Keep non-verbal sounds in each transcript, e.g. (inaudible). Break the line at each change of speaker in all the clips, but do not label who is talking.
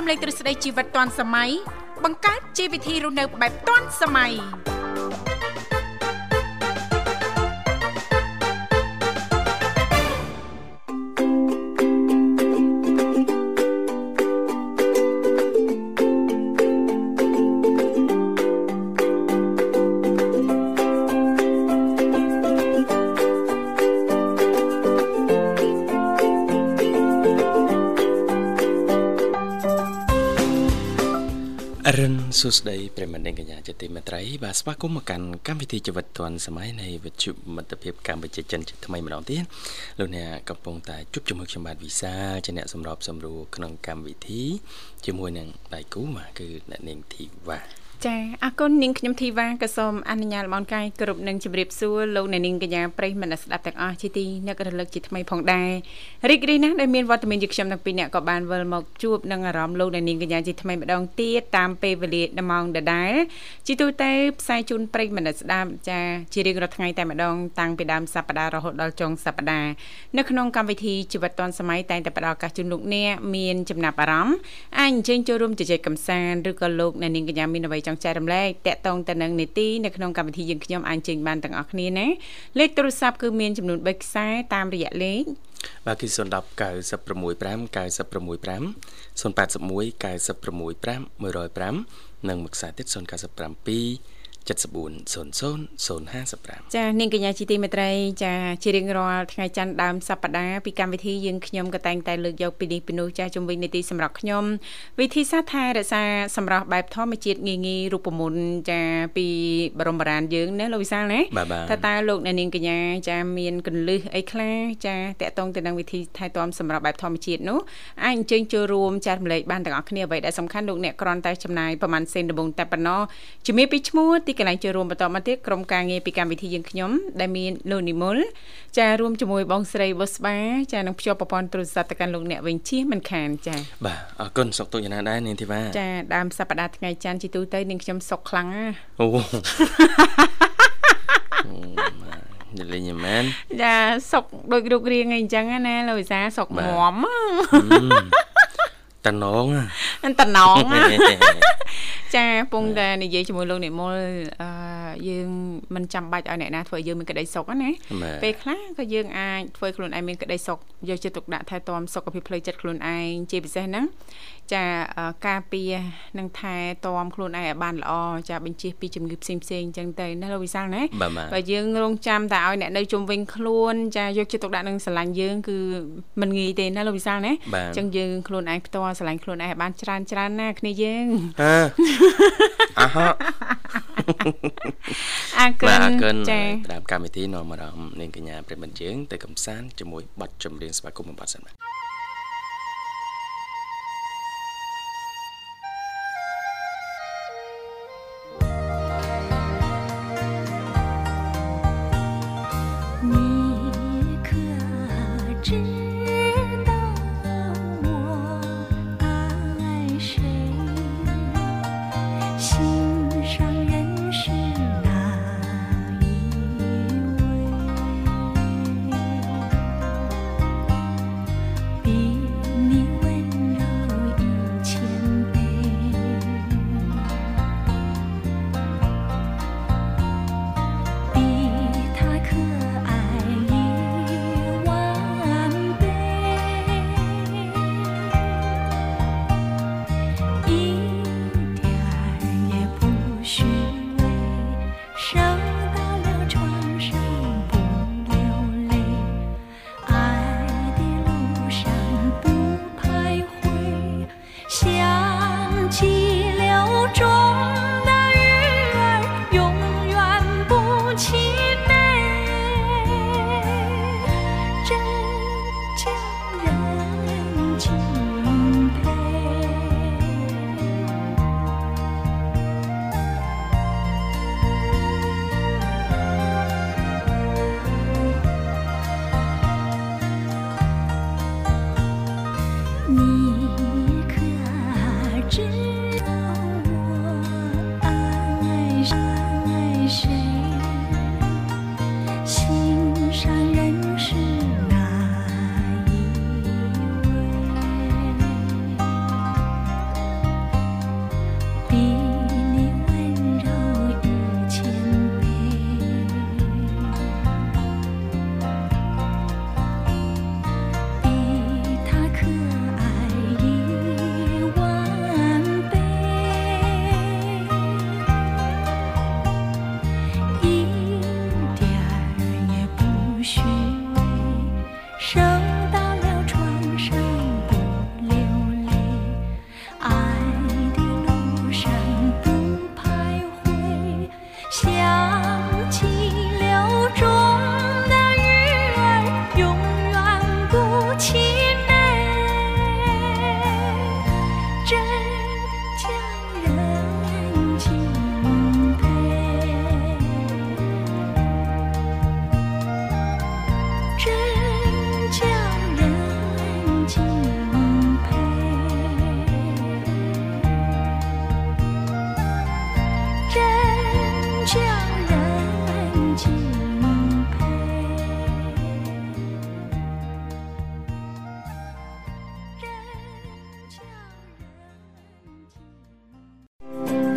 រំលែកទ្រឹស្ដីជីវិតទាន់សម័យបង្កើតជីវវិធីរស់នៅបែបទាន់សម័យ
អរិនសួស្ដីប្រិយមិត្តនិងកញ្ញាជាទីមេត្រីបាទស្វាគមន៍មកកាន់កម្មវិធីជីវិតឌွန်សម័យនៃវិទ្យុមិត្តភាពកម្ពុជាចិនជាថ្មីម្ដងទៀតលោកអ្នកកំពុងតែជួបជាមួយខ្ញុំបាទវិសាលជាអ្នកសម្របសម្រួលក្នុងកម្មវិធីជាមួយនឹងដៃគូបាទគឺអ្នកនាងធីវ៉ា
ចាអរគុណនាងខ្ញុំធីវ៉ាក៏សូមអនុញ្ញាតលំអរកាយគ្រប់នឹងជម្រាបសួរលោកអ្នកនាងកញ្ញាប្រិយមិត្តអ្នកស្ដាប់ទាំងអស់ជាទីនឹករលឹកជាថ្មីផងដែររីករាយណាស់ដែលមានវត្តមានជាខ្ញុំទាំងពីរអ្នកក៏បានវិលមកជួបនឹងអារម្មណ៍លោកអ្នកនាងកញ្ញាជាថ្មីម្ដងទៀតតាមពេលវេលាដំងដដែលជាទូទៅផ្សាយជូនប្រិយមិត្តអ្នកស្ដាប់ចាជារៀងរាល់ថ្ងៃតែម្ដងតាំងពីដើមសប្ដាហ៍រហូតដល់ចុងសប្ដាហ៍នៅក្នុងកម្មវិធីជីវិតឌွန်សម័យតែងតែផ្ដល់ឱកាសជូនលោកអ្នកមានចំណាប់អារម្មណ៍អាចអញ្ជើញចូលរួមជជែកកម្សាន្តឬក៏លោកអ្នកនាងកញ្ញាមានអ្វីចង់ចែករំលែកតាក់ទងទៅនឹងនីតិនៅក្នុងកម្មវិធីយើងខ្ញុំអាចអញ្ជើញបានទាំងអស់គ្នាណាលេខទូរស័ព្ទគឺមានចំនួន3ខ្សែតាមរយៈលេខ
បាទគឺ010 965 965 081 965 105និងមួយខ្សែទៀត097 7400055
ចានាងកញ្ញាជីទីមេត្រីចាជារៀងរាល់ថ្ងៃច័ន្ទដើមសប្តាហ៍ពីកម្មវិធីយើងខ្ញុំក៏តែងតែលើកយកពីនេះពីនោះចាជំវិញនីតិសម្រាប់ខ្ញុំវិធីសាស្ត្រថែរក្សាសម្រាប់បែបធម្មជាតិងាយងាយរូបមន្តចាពីបរមរានយើងណាលោកវិសាលណា
បាទបាទ
តើតើលោកអ្នកនាងកញ្ញាចាមានគន្លឹះអីខ្លះចាតកតងទៅនឹងវិធីថែទាំសម្រាប់បែបធម្មជាតិនោះអាចអញ្ជើញចូលរួមចែករំលែកបានទាំងអស់គ្នាអ្វីដែលសំខាន់លោកអ្នកគ្រាន់តែចំណាយប្រហែលសេនដំបូងតែប៉ុណ្ណោះជំរាបពីឈ្មោះទីកន្លែងចូលរួមបន្តមកទៀតក្រុមការងារពីកម្មវិធីយើងខ្ញុំដែលមានលោកនិមលចារួមជាមួយបងស្រីវុស្បាចានឹងភ្ជាប់ប្រព័ន្ធទូរស័ព្ទទៅកាន់លោកអ្នកវិញជាមិនខានចា
បាទអរគុណសុខទុក្ខយ៉ាងណាដែរនាងធីវ៉ា
ចាដើមសប្តាហ៍ថ្ងៃច័ន្ទជីទូទៅនាងខ្ញុំសុកខ្លាំងណាស់
អូ (laughs) អូម៉ែលេងយីមែន
ចាសុកដូចរូបរាងអីអញ្ចឹងណាលោកវិសាលសុកម
បាទ
ម
តំណងណា
ហ្នឹងតំណង
(laughs)
ណាចាពងតែនិយាយជាមួយលោកនិមលអឺយើងមិនចាំបាច់ឲ្យអ្នកណាធ្វើឲ្យយើងមានក្តីសុខណា
បាទ
ពេលខ្លះក៏យើងអាចធ្វើខ្លួនឯងមានក្តីសុខយកចិត្តទុកដាក់ថែទាំសុខភាពផ្លូវចិត្តខ្លួនឯងជាពិសេសហ្នឹងចាអឺការពារនិងថែទាំខ្លួនឯងឲ្យបានល្អចាបញ្ជៀសពីជំងឺផ្សេងផ្សេងអញ្ចឹងទៅណាលោកវិសាលណា
បាទបាទ
បើយើងរងចាំតែឲ្យអ្នកនៅជុំវិញខ្លួនចាយកចិត្តទុកដាក់នឹងស្រឡាញ់យើងគឺមិនងាយទេណាលោកវិសាលណា
បាទ
ចឹងយើងខ្លួនឯងផ្ទាល់ស្រឡាញ់ខ្លួនឯងឲ្យបានច្រើនច្រើនណាគ្នាយើង
អើអហ
អរគុ
បាទ
ណ
អរគុណ
ចា
តាម កម្មវិធីនាំអារម្មណ៍នាងកញ្ញាប្រិមត្តយើងទៅកំសាន្តជាមួយបទចម្រៀងស្វាគមន៍មួយបទសិនបាទ
你可知道我爱谁？心上人是哪一位？比你温柔一千倍。比他可爱一万倍，收到了船上不流泪，爱的路上不徘徊，想起流中的鱼儿永远不起美。真叫人敬佩，真叫人敬佩，真叫人敬佩。真叫人敬佩。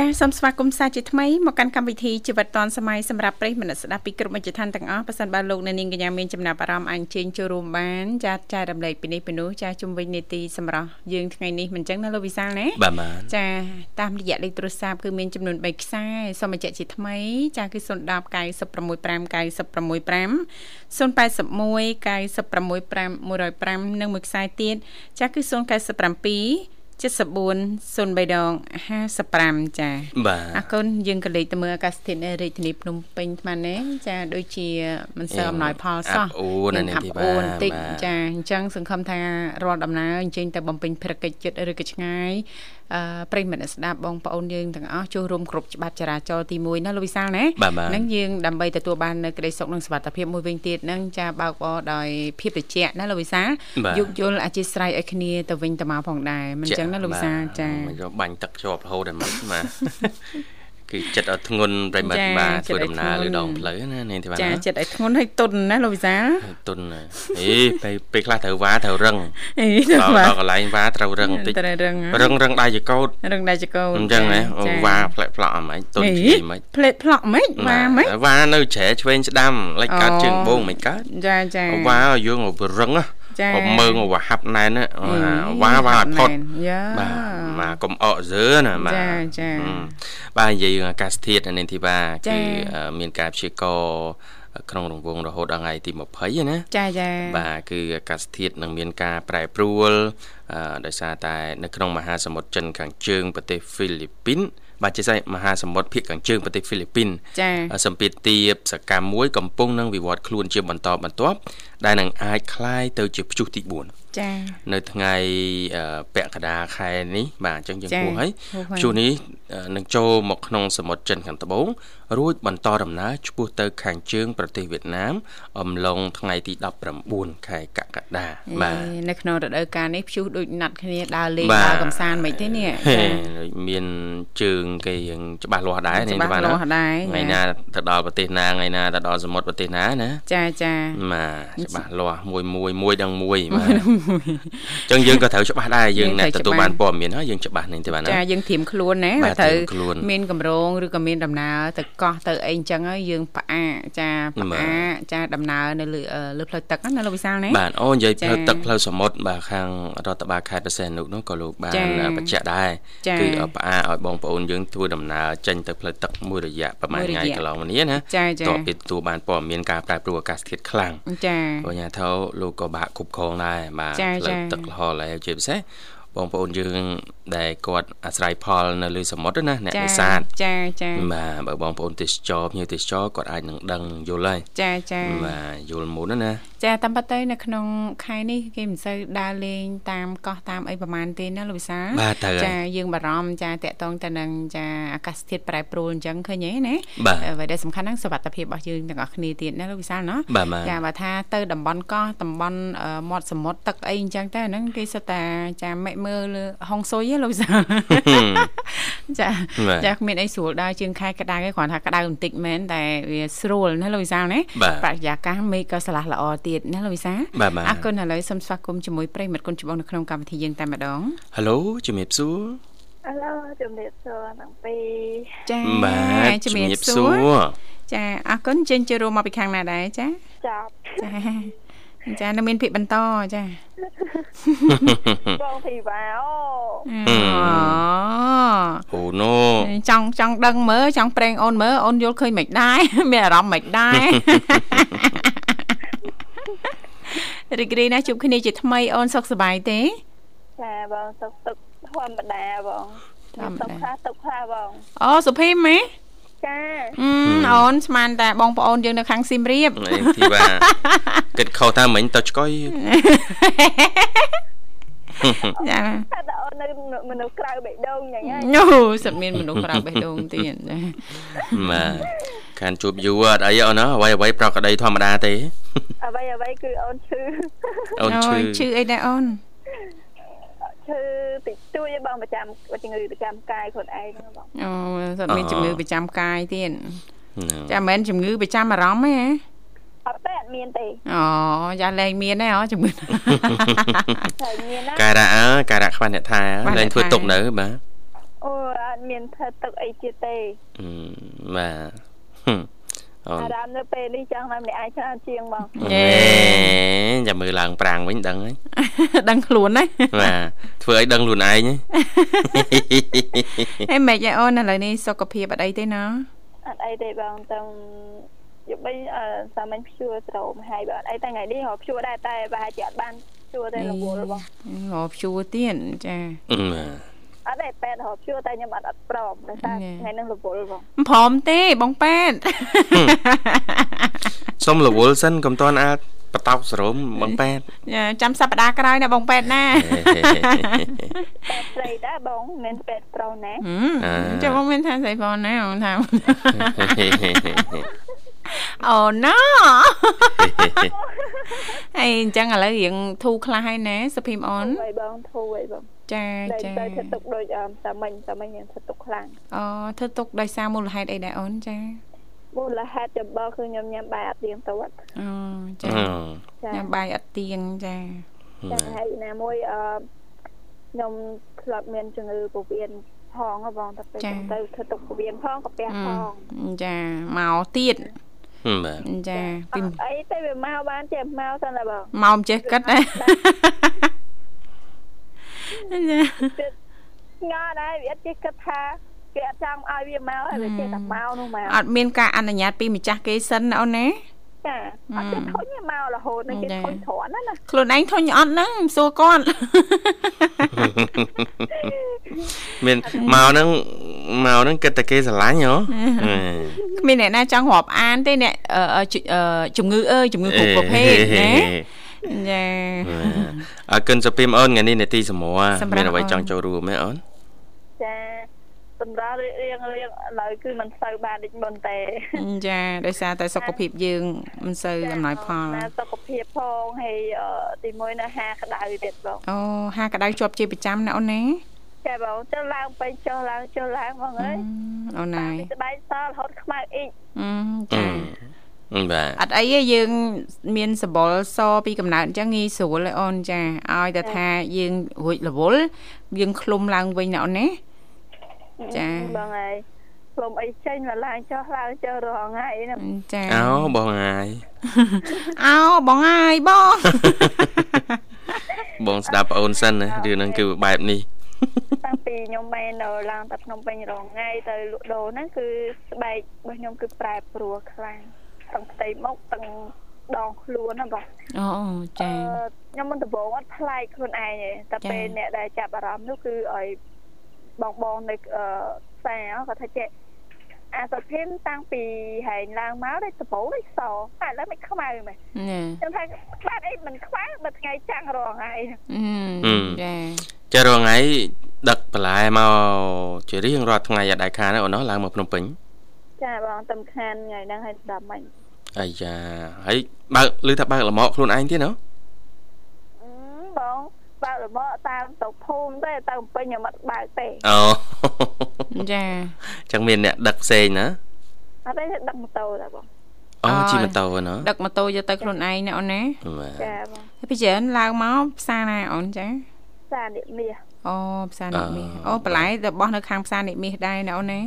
ចាសសូមស្វាគមន៍សាជាថ្មីមកកាន់កម្មវិធីជីវិតឌွန်សម័យសម្រាប់ប្រិយមិត្តស្ដាប់ពីក្រុមអិច្ចឋានទាំងអស់ប៉ះសិនបាទលោកអ្នកនាងកញ្ញាមានចំណាប់អារម្មណ៍អញ្ជើញចូលរួមបានចាសចែករំលែកពីនេះពីនោះចាសជំវិញនីតិសម្រាប់យើងថ្ងៃនេះមិនចឹងណាលោកវិសាលណា
បាទបាន
ចាតាមរយៈលេខទូរស័ព្ទគឺមានចំនួន3ខ្សែសូមបញ្ជាក់ជាថ្មីចាគឺ010 965 965 081 965 105និងមួយខ្សែទៀតចាគឺ097 74 03ដង55ចា
បាទ
អរគុណយើងក៏លេខទៅមើលអាកាសធាតុនៅរាជធានីភ្នំពេញថ្មនេះចាដូចជាមិនសូវអំណោយផលសោះ
អាប់អួរនៅនេះ
អាប់
ទេ
អួរប
បាទ
ន្តិច
បាទ
ចា ចាអញ្ចឹងសង្ឃឹមថារាល់ដំណើរអញ្ជើញទៅបំពេញភារកិច្ចចិត្តឬក៏ឆ្ងាយអឺប្រិយមិត្តអ្នកស្ដាប់បងប្អូនយើងទាំងអស់ចូលរួមគ្រប់ច្បាប់ចរាចរណ៍ទី1ណាលោកវិសាលណា
បាទបាទ
ហ្នឹងយើងដើម្បីទទួលបាននៅក្តីសុខនិងសុវត្ថិភាពមួយវិញទៀតហ្នឹងចាបើកបរដោយភាពត្រជាក់ណាលោកវិសាល
បាទ
យោគយល់អធិស្ឋានឲ្យគ្នាទៅវិញទៅមកផងដែរមិនអញ្ចឹងណាលោកវិសាលចា
បាទយកបាញ់ទឹកជាប់រហូតដល់មកបាទគឺចិត្តអត់ធ្ងន់ប្រិមត្ត
ចា
បាទ
ចិត្ត
ធ្វើដំណើរ
ឲ្យធ្ងន់
លើដងផ្លូវណានេះទេបាទ
ចា
ណា
ចិត្តឲ្យធ្ងន់ឲ្យទន់ណាលោកវិសាល
ទុនណាអេពេលពេលខ្លះត្រូវវ៉ាត្រូវរឹង
អី
ដ
ទៅ
ល់
បា
ដ
ទ
ល់កន្លែងវ៉ាត្រូវរឹងបន្តិច
ត្រូវរឹងហ៎
រឹងរឹងដៃជាកោត
រឹងដែរចកូន
អញ្ចឹងណា
ចា
វ៉ាផ្លែកផ្លោកអីមិនទុន
អី
ជីមិន
ផ្លេតផ្លក់ហ្មិនវ៉ាហ្មិន
វ៉ានៅជ្រែឆ្វេងស្ដាំលេចកើត
អូ
ជើងបងមិនកើត
ចាចា
វ៉ាឲ្យយើងឲ្យរឹងហ៎
ចា
អត់មើងឲ្យហាប់ណែនហ៎វ៉ាវ៉ាឲ្យផុត
យ៉ា
បា
បាទទ
មកកុំអកសើណាបាទ
ចាចា
អឺបាទនិយាយរឿងអាកាសធាតុនៅនេនធីវ៉ា
ចា
គឺអឺមានការព្យាករណ៍ក្នុងរង្វង់រហូតដល់ថ្ងៃទី20ហ្នឹងណា
ចាចា
បាទគឺអាកាសធាតុនឹងមានការប្រែប្រួលអឺដោយសារតែនៅក្នុងមហាសមុទ្រចិនខាងជើងប្រទេសហ្វីលីពីនបាទជាស្អីមហាសមុទ្រភាគខាងជើងប្រទេសហ្វីលីពីន
ចា
សម្ពាធទាបសកម្មមួយកំពុងនឹងវិវត្តខ្លួនជាបន្តបន្ទាប់ដែលនឹងអាចคล้ายទៅជាព្យុះទី4
ចា
នៅថ្ងៃអឺពាក់កណ្ដាលខែនេះបាទអញ្ចឹងយើងគួរហើយព្យុះនេះអឺនឹងចូលមកក្នុងសមុទ្រចិនខាងត្បូងរួចបន្តដំណើរឆ្ពោះទៅខាងជើងប្រទេសវៀតណាមអំឡុងថ្ងៃទី19ខែកក្កដាបាទ
អេនៅក្នុងរដូវកាលនេះព្យុះដូចណាត់គ្នាដើរលេង
បាទ
ដើរកំសាន្តមិនទេនេះ
(laughs) ហេ
ចា
មានជើងគេយើងច្បាស់លាស់ដែរ
ច្បាស់លាស់ដែរ
ថ្ងៃណាទៅដល់ប្រទេសណាថ្ងៃណាទៅដល់សមុទ្រប្រទេសណាណា
ចាចា
បាទច្បាស់លាស់មួយមួយមួយដងមួយបាទអ (laughs) ញ្ចឹងយើងក៏ត្រូវច្បាស់ដែរយើងអ្នកទទួលបានព័ត៌មានហើយយើងច្បាស់នឹងទេបាទណា
ចាយើងធៀមខ្លួនណា
បាទ
ទៅ
ត្រៀមខ្លួន
មានកម្រងឬក៏មានដំណើរទៅកោះទៅអីអញ្ចឹងហើយយើងផ្អាកចាផ្
បាទ
អាកចាដំណើរនៅលើអឺលើផ្លូវទឹកហ្នឹងណាលោកវិសាលណា
បាទអូនិយាយ
ចា
ផ្លូវទឹកផ្លូវសមុទ្របាទខាងរដ្ឋបាលខេត្តបរសេនុនោះក៏លោកបាន
ចា
បញ្ជាក់ដែរ
ចា
គឺផ្អាកឲ្យបងប្អូនយើងធ្វើដំណើរចេញទៅផ្លូវទឹកមួយរយៈប្រហែល
មួយរយៈ
ថ្ងៃកន្លងមកនេះណា
ចាចា
តពីទទួលបានព័ត៌មានការប្រែប្រួលអាកាសធាតុខ្លាំង
ចា
បញ្ញាធោលោកក៏បាក់គ្រប់គ្រងដែរបាទ
ចា
ផ្លូវ
ចា
ទឹកលហល់ហើយជាពិសេសបងប្អូនយើងដែលគាត់អាស្រ័យផលនៅលើសមុទ្រណាអ្នកនេសាទ
ចាចា
បាទបើបងប្អូនទេសចរភ្ញៀវទេសចរគាត់អាចនឹងដឹងយល់ហើយ
ចាចា
បាទយល់មុនណាណា
ចាតាមពិតទៅនៅក្នុងខែនេះគេមិនសូវដើរលេងតាមកោះតាមអីប្រហែលទេណាលោកវិសាល
បាទត្រូវហើយ
ចាយើងបារម្ភចាតកតងទៅនឹងចាអាកាសធាតុប្រែប្រួលអញ្ចឹងឃើញទេណា
បាទ
អ្វីដែលសំខាន់ហ្នឹងសុវត្ថិភាពរបស់យើងទាំងអស់គ្នាទៀតណាលោកវិសាលណា
បាទបាទ
ចាបើថាទៅតំបន់កោះតំបន់អឺមាត់សមុទ្រទឹកអីអញ្ចឹងទៅអាហ្នឹងគេសុទ្ធតែចាមេមើលលើហុងស៊ុយហ្នឹងលោកវិសាល
(laughs)
ចា
បាទ
ចាគ្មានអីស្រួលដែរជាងខែក្តៅឯងគ្រាន់ថាក្តៅបន្តិចមែនតែវាស្រួលណាលោកវិសាលណា
បាទ
បរិយាកាសមេឃក៏ស្រឡះល្អទៀតណាលោកវិសាល
បាទបាទ
អរគុណឥឡូវសូមស្វាគមន៍ជាមួយប្រិយមិត្តគុណច្បងនៅក្នុងកម្មវិធីយើងតែម្ដង
ហេឡូជំរាបសួរ
ឥឡូវជំរាបសួរទាំងពីរ
ចា
បាទ
ជំរាបសួរ ចាអរគុណចេញចូលរួមមកពីខាងណាដែរចា
ចា
ចាចានៅមានភាពបន្តចា
បងធីវ៉ាអូ
ហឹ
អូ
ម អូណូ
ចង់ចង់ដឹងមើលចង់ប្រេងអូនមើលអូនយល់ឃើញមិនដែរ (laughs) មានអារម្មណ៍មិនដែរ (laughs) រីករាយណាស់ជួបគ្នាជាថ្មីអូនសុខសប្បាយទេ
ចាបងសុខទុកធម្មតាបង
ធម្មតា
សុខខ្លះទុកខ្លះបង
អូសុភីមហ៎
ចា
អឺអូនស្មានតែបងប្អូនយើងនៅខាងស៊ីម (laughs) រៀប
អេធីវ៉ាគិតខុសថាមិញទៅឆ្កុយ
ចា
តែតើអូននៅមនុស្សក្រៅបេះដូងយ៉ាងហ្នឹង
អូសិតមានមនុស្សក្រៅបេះដូងទៀតចា
បាទខានជួបយូរអត់អីអូនអ្វីអ្វីប្រកក្តីធម្មតាទេ (laughs)
អ្វីអ្វីគឺអូនឈឺ
អូនឈឺ
ឈឺអីដែរអូន
(laughs) ឈឺតិចតួចឯងបងប្រចាំជំងឺប្រចាំកាយខ្លួនឯងហ្នឹងបង
អូសិតមានជំងឺប្រចាំកាយទៀត
ហ្នឹង
ចាមិនមែនជំងឺប្រចាំអារម្មណ៍ទេហ៎
អត់ទេអត់មានទេ
អូយ៉ាលែងមានដែរអូ
(laughs)
ជំងឺ
តែមានណា
ការៈអើការៈខ្វះអ្នកថា
ខ្វះអ្នក
លែងធ្វើ
ថា
ទុកនៅបាទ
អូអត់មានធ្វើទុកអីទៀតទេ
អឺបាទហឹមអូន
អារម្មណ៍នៅពេលនេះចង់តែម្នាក់ឯងច្រើនជាងបង
យេ
អេចាំមើលឡើងប្រាំងវិញដឹងហើយ
ដឹងខ្លួនណា
បាទធ្វើឲ្យដឹងខ្លួនឯងហ៎
ហេមិនឯអូនឥឡូវនេះសុខភាពអត់អីទេណា
អត់អីទេបងតាំងយកបីអឺសាមញ្ញព្យួរស្រោមហើយបើអត់អីតែថ្ងៃនេះរកព្យួរដែរតែប្រហែលជាអត់បានព្យួរទេរវល់បង
ងោព្យួរទៀតចា
បាទ
អត់ទេពេទ្យរកព្យួរតែខ្ញុំអត់អត់ព្រមដោយសារ
ញ៉េ
ថ្ងៃហ្នឹងរវល់បង
មិនព្រមទេបងប៉ែត
សុំរវល់សិនកុំតន់អាចបតោកសរមបងប៉ែត
(laughs) ចាំសប្តាហ៍ក្រោយណាបងប៉ែត
(laughs)
ណា
ពេទ្យស្រីដែរបងមិនមែនពេទ្យប្រុសណា
ហឹម
អ่า
ចាំបងមានថាស្អីផងណាអូ
(laughs)
នថា អូណូ (laughs) អីអញ្ចឹងឥឡូវរៀងធូរខ្លះហើយណាសុភីមអូន
ហើយបងធូរហើយបង
ចា
តែ
ចា
តែធ្វើទុកដូចអឺសាមញ្ញសាមញ្ញខ្ញុំធ្វើទុកខ្លាំង
អូធ្វើទុកដោយសារមូលហេតុអីដែរអូនចា
មូលហេតុចម្បងគឺខ្ញុំញ៉ាំបាយអត់ទៀងទាត់
អូចា
ចា
ញ៉ាំបាយអត់ទៀងចា
ចាហើយណាមួយអឺខ្ញុំធ្លាប់មានជំងឺពោះវៀនផងហ៎បងតែពេលហ្នឹងទៅធ្វើទុកពោះវៀនផងកាពះ
ហ
ផង
ឹមចាមកទៀត
ហឹមបាទ
ចា
អ
ពី
ត់អីទៅវាមកបានចេះមកសិនតែបង
មកមិនចេះគិតណាចា
ងល់ដែរវាអត់ចេះគិតថាគេអត់ចង់ឲ្យវាមកហើយវាចេះតែមកនោះមក
អត់មានការអនុញ្ញាតពីម្ចាស់គេសិនណាអូនណា
ចាអត់ចេះធុញទេមករហូតនឹងគេ
ចា
ធុញទ្រាន់ណាណា
ខ្លួនឯងធុញអត់ហ្នឹងមិនសួរ
(laughs)
គាត់
មានមកហ្នឹងមកហ្នឹងគិតតែគេស្រឡាញ់ហ៎
គ្មានអ្នកណាចង់រាប់អានទេអ្នកអឺអឺជអឺជំងឺអើយជំងឺគ្រប់ប្រភេ
(laughs)
ទណា (laughs) ចា
អរគុណសុភីមអូនថ្ងៃនេះនេតិសមរមានអ្វីចង់ចូលរួមទេអូន
ចាសម្រាប់រៀងរៀងឥឡូវគឺមិនសូវបានដូចមុនទេ
ចាដោយសារតែសុខភាពយើងមិនសូវអំណោយផល
ណាសុខភាពផងហើយអឺទីមួយនៅហាក្តៅទៀតបង
អូហាក្តៅជាប់ជាប្រចាំណាអូនណា
ចាបងចុះឡើងពេកចុះឡើងចុះឡើងបងអើយ
អូនណាយ
ពីស្បែកសរហូតខ្មៅអ៊ីក
អឺចា
បាទ
អត់អីទេយើង មានសបុលសពីកំណើតអញ្ចឹងងាយស្រួលហើយអូនចាឲ្យតែថាយើងរួចរវល់យើងឃ្លុំឡើងវិញណាអូនណា ចា
បងហើយខ្ញុំអីចេញមកឡើងចុះឡើងចុះរហងៃហ្នឹង
ចា
អោបងអាយ
អោបងហើយបង (laughs)
បងស្ដាប់ប្អូនសិនណារឿងហ្នឹងគឺបែបនេះ
តាំងពីខ្ញុំបែរនៅឡើងទៅភ្នំពេញរហងៃទៅលក់ដូរហ្នឹងគឺស្បែករបស់ខ្ញុំគឺប្រែប្រួលខ្លាំងទាំងផ្ទៃមុខទាំងដងខ្លួនណាបង
អូចា
ខ្ញុំមិនដំបងអត់ប្លែកខ្លួនឯងទេតែ
ចា៎
ពេលអ្នកដែលចាប់អារម្មណ៍នោះគឺឲ្យបងបងៗនៅអឺផ្សារគាត់ថាចេះអាសុភិនតាំងពីហែងឡើងមកដូចដំបងដូចសតែឥឡូវមិនខ្មៅមែន
ណា
ខ្ញុំថាខ្វាត់អីមិនខ្វៅបើថ្ងៃចាំងរងហើយ
អឺចា
ចារងថ្ងៃដឹកបន្លែមកជារៀងរាល់ថ្ងៃអត់ដែរខានអូនណាឡើងមកភ្នំពេញ
ចាបងតំខាន់ថ្ងៃហ្នឹងឲ្យស្ដាប់មិញ
អាយ៉ាហើយបើកឮថាបើកលមកខ្លួនឯងទៀតណា
អឺបងបើករមកតាមទៅភូមិទេទៅបំពេញខ្ញុំអត់បើកទេ
អូ
ចា
ចឹងមានអ្នកដឹកផ្សេងណា
អត់ទេដឹកម៉ូតូតែបង
អូជិះម៉ូតូណា
ដឹកម៉ូតូយកទៅខ្លួនឯងណាអូនណា
បាទ
ចាបង
ហើយពីច្រើនឡើងមកផ្សារណាអូនចា
ចានិមាស
អូផ្សារនិមាសអូបន្លែរបស់នៅខាងផ្សារនិមាសដែរណាអូនណា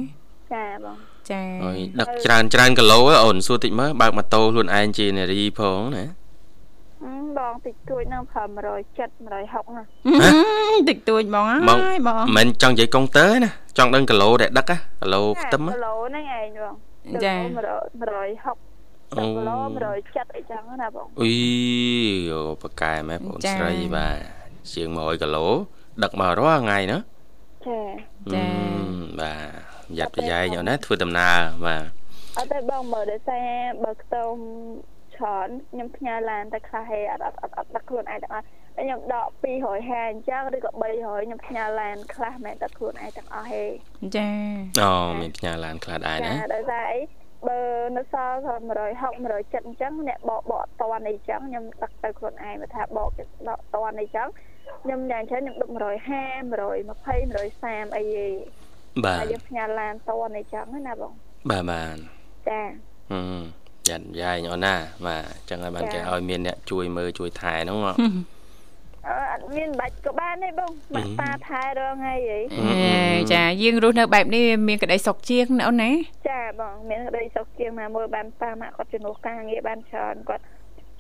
ចាបង
ចា (laughs)
ហើយដឹកច្រើនច្រើនគីឡូហ៎អូនសួរតិចមើលបើកម៉ូតូខ្លួនឯងជានារីផងណា
អឺបងតិចតួចហ្នឹងប្រហែល170 160ណា
តិចតួចហ្មង
មក
ហើយបង
មិនចង់និយាយកុងទ័រណាចង់ដឹងគីឡូដែលដឹកហ៎គីឡូ
ចា
ខ្ទឹមហ៎
គីឡូហ្នឹងឯងបង
ចា
អូ
160គីឡូ170អីចឹងណាបង
អុយអូប៉កែមែនបងស្រីបាទជាង100គីឡូដឹកមករាល់ថ្ងៃណា
ចា
ចា
បាទប្រយ័ត្នប្រយែងអូនណាធ្វើដំណើរបាទ
អត់ទេបងមើលដោយសារបើខ្ទមច្រើនខ្ញុំផ្ញើឡានតែខ្លះហេអត់អត់អត់អត់ដឹកខ្លួនឯងទាំងអស់ហើយខ្ញុំដក250អញ្ចឹងឬក៏300ខ្ញុំផ្ញើឡានខ្លះមិនដឹកខ្លួនឯងទាំងអស់ហេ
ចា
អូមានផ្ញើឡានខ្លះដែរណា
ចាដោយសារអីបើនៅសល់គាត់160 170អញ្ចឹងអ្នកបកបកអត់តាន់អីចឹងខ្ញុំដឹកទៅខ្លួនឯងបើថាបកចិត្តដកអត់តាន់អីចឹងខ្ញុំយ៉ាងច្រើនខ្ញុំដឹក150 120 130អីហី
បា
ហើ
ទ
យយើងផ្ញើឡានតាន់អីចឹងណាបង
បាទបាទ
ចា
ហឹមប្រយ័ត្នប្រយែងអូនណាបាទអញ្ចឹងហើយបានគេឲ្យមានអ្នកជួយមើលជួយថែហ្នឹងហ៎
អឺអត់មានបាច់ក៏បានទេបងមកប៉ាថែរងហើយហី
អឺអឺ
ចាយើងរស់នៅបែបនេះមានក្តីសុខជាងណាអូនណា
ចាបងមានក្តីសុខជាងណាមួយបានប៉ាម៉ាក់គាត់ជំនួសការងារបានច្រើនគាត់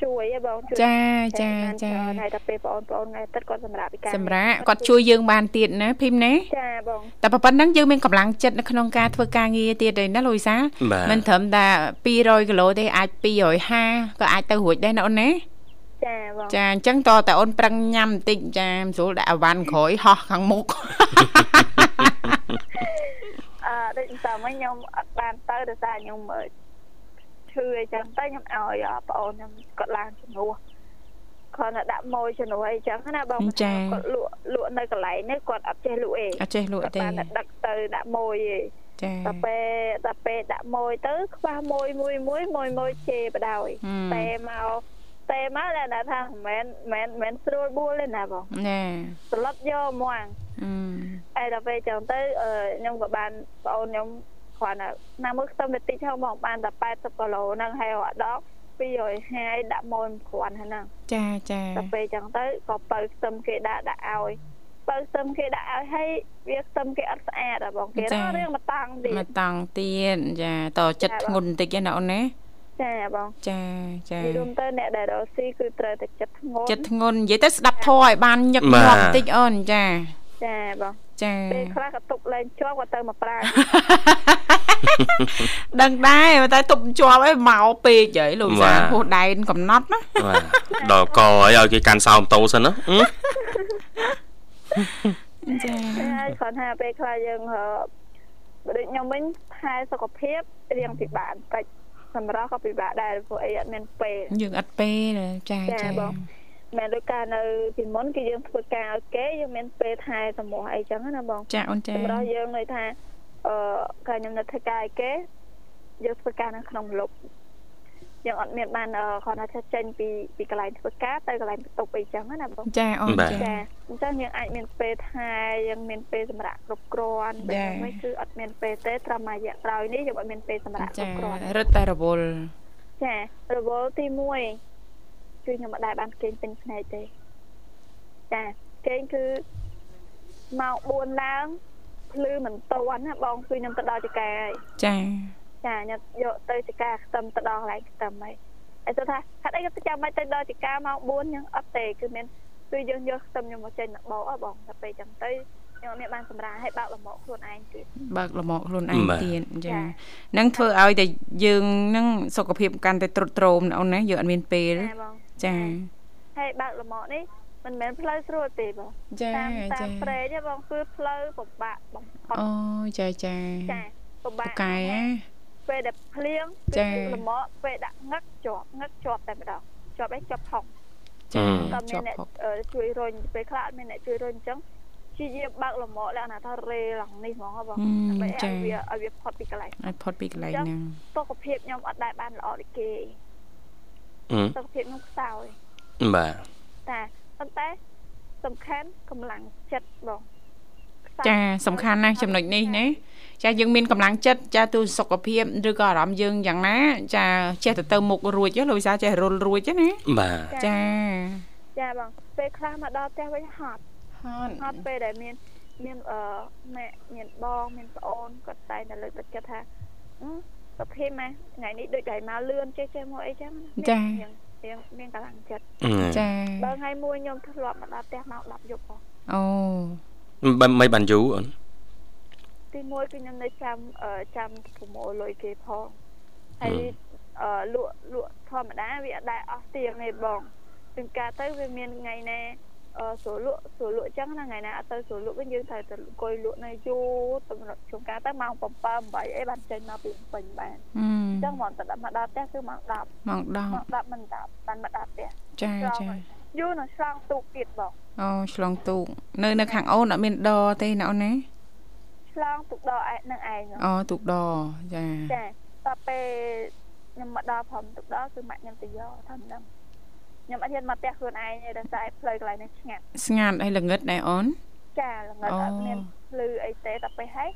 ជួយហីបងជួយ
ចា
រ
ចា
បាន
ចា
ច្រើនហើយតែពេលបងប្អូនៗថ្ងៃទឹកគាត់សម្រាប់ពីការ
សម្រាប់គាត់ជួយយើងបានទៀតណាភីមណា
ចាបង
តែប៉ុណ្ណឹងយើងមានកម្លាំងចិត្តនៅក្នុងការធ្វើការងារទៀតឯណាលូយសា
បាទ
មិនត្រឹមតែ200គីឡូទេអាច250ក៏អាចទៅរួចដែរណាអូនណា
ចាបង
ចាអញ្ចឹងតតែអូនប្រឹងញ៉ាំបន្តិចចាមិនស្រួលដាក់អវ៉ាន់ក្រោយហោះខាងមុខ
អឺដូចតែមកខ្ញុំអត់បានទៅដោយសារខ្ញុំអឺឈឺអីចឹងទៅខ្ញុំឲ្យអ่าប្អូនខ្ញុំគាត់ឡើងជំនួសគាត់នៅដាក់ម៉ួយជំនួសអីចឹងណាបង
ចា
គាត់លក់លក់នៅកន្លែងនេះគាត់អត់ចេះលក់អី
អត់ចេះលក់ទេ
បានតែដឹកទៅដាក់ម៉ួយឯង
ចា
តែពេលតែពេលដាក់ម៉ួយទៅខ្វះម៉ួយមួយមួយមួយមួយជេរបដ ாய்
ហឹម
តែមកតែមកតែណាថាមិនមែនមិនមែនស្រួលបួលទេណាបង
ណា
ត្រឡប់យកហ្មង
អឺ
អីដល់ពេលចឹងទៅអឺខ្ញុំក៏បានប្អូនខ្ញុំគ្រាន់តែណាមួយខ្ទឹមតែតិចហ្នឹងមកបានតែ80គីឡូហ្នឹងហើយរត់ដង250ដាក់ម៉ូនគ្រាន់ហ្នឹង
ចាចា
ដល់ពេលចឹងទៅក៏បើខ្ទឹមគេដាក់ដាក់ឲ្យបើខ្ទឹមគេដាក់ឲ្យហើយវាខ្ទឹមគេអត់ស្អាតហ៎បងគេរឿងមកតាំងទី
មកតង់ទៀតចាតចិត្តធ្ងន់បន្តិចណាអូនណា
ចាបង
ចាចា
និយាយរួមទៅអ្នកដែលរស់ស៊ីគឺត្រូវតែចិត្តធ្ងន់
ចិត្តធ្ងន់និយាយទៅស្ដាប់ធေါ်ឲ្យបានញឹកញាប់បន្តិចអូនចា
ចាបង
ចា
ពេលខ្លះក៏ទុកលែងជាប់ក៏ទៅមកប្រើ
ដឹងដែរតែទប់ជាប់ឲ្យមកពេកហីលូយសាហោះដែនកំណត់ណា
បាទដល់កឲ្យឲ្យគេកាន់សោមតោសិនណាហឹម
ចា
ហើយគ្រាន់ថាពេលខ្លះយើងហឺ ដូចខ្ញុំវិញផែសុខភាពរៀងពិបាកបន្តិចសម្រាប់ក៏ពិបាកដែរព្រោះអីអត់មានពេល
យើងអត់ពេលចាចា
មែនដូចការនៅពីមុនគឺយើងធ្វើការឲ្យគេយើងមានពេលថែសម្រាប់អីចឹងណាបង
ចាអូនចា
សម្រាប់យើងន័យថាអឺការខ្ញុំនៅធ្វើការឲ្យគេយើងធ្វើការនៅក្នុងម្លប់យើងអត់មានបានអឺគ្រាន់តែចេញពីពីកន្លែងធ្វើការទៅកន្លែងបន្ទប់អីចឹងណាបង
ចាអូនចា
ចាអញ្ចឹងយើងអាចមានពេលថែយើងមានពេលសម្រាប់គ្រប់គ្រាន់
ចា
តែខ្ញុំវិញគឺអត់មានពេលទេត្រឹមតែរយៈក្រោយនេះយើងអត់មានពេលសម្រាប់
ចា
គ្រប់គ្រាន់
រឹតតែរវល់
ចារវល់ទី1គឺខ្ញុំមិនដែលបានគេងពេញភ្នែកទេចាគេងគឺម៉ោង4ឡើងភ្លឺមិនតាន់ណាបងគឺខ្ញុំទៅដល់ចកាហើយ
ចា
ចាខ្ញុំយកទៅចកាខ្ទឹមទៅដល់កន្លែងខ្ទឹមហើយហើយទៅថាហេតុអីក៏ចាំមិនទៅដល់ចកាម៉ោង4យើងអត់ទេគឺមានគឺយើងយកខ្ទឹមខ្ញុំមកចេញមកបោកអស់បងតែពេលចឹងទៅខ្ញុំអត់មានបានសម្រាឲ្យបើកលំមកខ្លួនឯងទៀត
បើកលមកខ្លួនឯងទៀតចានឹងធ្វើឲ្យតែយើងនឹងសុខភាពកាន់តែទ្រុឌទ្រោមណាអូនណាយើងអត់មានពេល
ចាបង
ចា
ហើយបើកលំមកនេះមិនមែនផ្លូវស្រួលទេបង
ចា
តាមតា
ចា
មព្រែកហ្នឹងបងគឺផ្លូវពិបាកបំផុត
អូចាចា
ចាពិបាក
កែណា
ពេលដែលភ្លៀង
ចា
គឺល្មមពេលដាក់ងឹកជាប់ងឹកជាប់តែម្ដងជាប់ឯងជាប់ផុក
ចា
តែមា
ជា
ន
ប់
អ្នក
ផុក
អឺជួយរុញពេលខ្លះអត់មានអ្នកជួយរុញអញ្ចឹងជាយាមបើកល្មមលក្ខណៈថារេឡើងនេះហ្មងហ៎បងដើម្បី
ចា
ឲ្យវាឲ្យវាផុតពីកន្លែង
ឲ្យផុតពីកន្លែងហ្នឹង
សុខភាពខ្ញុំអត់ដែលបានល្អដូចគេសុខភាពខ្ញុំខ្សោយ
បាទ
តែប៉ុន្តែសំខាន់កម្លាំងចិត្តបងខ្សោយ
ចាសំខាន់ណាស់ចំណុចនេះណាចាយើងមានកម្លាំងចិត្តចាទូសុខភាពឬក៏អារម្មណ៍យើងយ៉ាងណា ចាចេះទៅទៅមុខរួចហ៎លោកវិសាចេះរុលរួចហ៎ណា
បាទ
ចា
ចាបងពេលខ្លះមកដល់ផ្ទះវិញហត់
ហត់
ហត់ពេលដែលមានមានអឺម៉ាក់មានបងមានប្អូនគាត់តែងតែលើកទឹកចិត្តថា សុភីម៉ែថ្ងៃនេះដូចតែមកលឿនចេះចេះមកអីចឹងណា
ចា
មានមានមានកម្លាំងចិត្ត
ចា
បើថ្ងៃមួយខ្ញុំធ្លាប់មកដល់ផ្ទះមក10យប់ផង
អូ
បើមិនបានយូរអូន
ទីមួយគឺខ្ញុំនៅចាំអឺចាំប្រមូលលុយគេផងហើយអឺលក់លក់ធម្មតាវាអត់ដែរអស់ទៀងទេបងពីការទៅវាមានថ្ងៃណាអឺស្រួលលក់ស្រួលលក់ចឹងណាថ្ងៃណាអត់ទៅស្រួលលក់វិញយើងត្រូវទៅអង្គុយលក់នៅយូរសម្រាប់ជុំការទៅម៉ោង7 8អីបានចេញមកពីពេញបាន
អឺ
អញ្ចឹងហ្មងទៅដល់មកដល់ផ្ទះគឺម៉ោង10
ម៉ោង
មក10មិន10បានមក10ផ្ទះ
10ចាចា
យូរនឹងឆ្លងទូកទៀតបង
អូឆ្លងទូកនៅនៅខាងអូនអត់មានដរទេណាអូនណា
ឆ្លងទូកដកឯនឹងឯងហ៎
អូទូកដរចា
ចាដល់ពេលខ្ញុំមកដល់ព្រមទូកដល់គឺម៉ាក់ខ្ញុំទៅយកថាមិនដឹងខ្ញុំអត់ហ៊ានមកផ្ទះខ្លួនឯងទេដល់តែផ្លូវកន្លែងនេះឆ្ងាត់
ស្ងាត់ហើយល្ងឹតដែរអូន
ចាល្ងិត
អូ
អត់មានភ្លឺអីទេដល់ពេលហើយ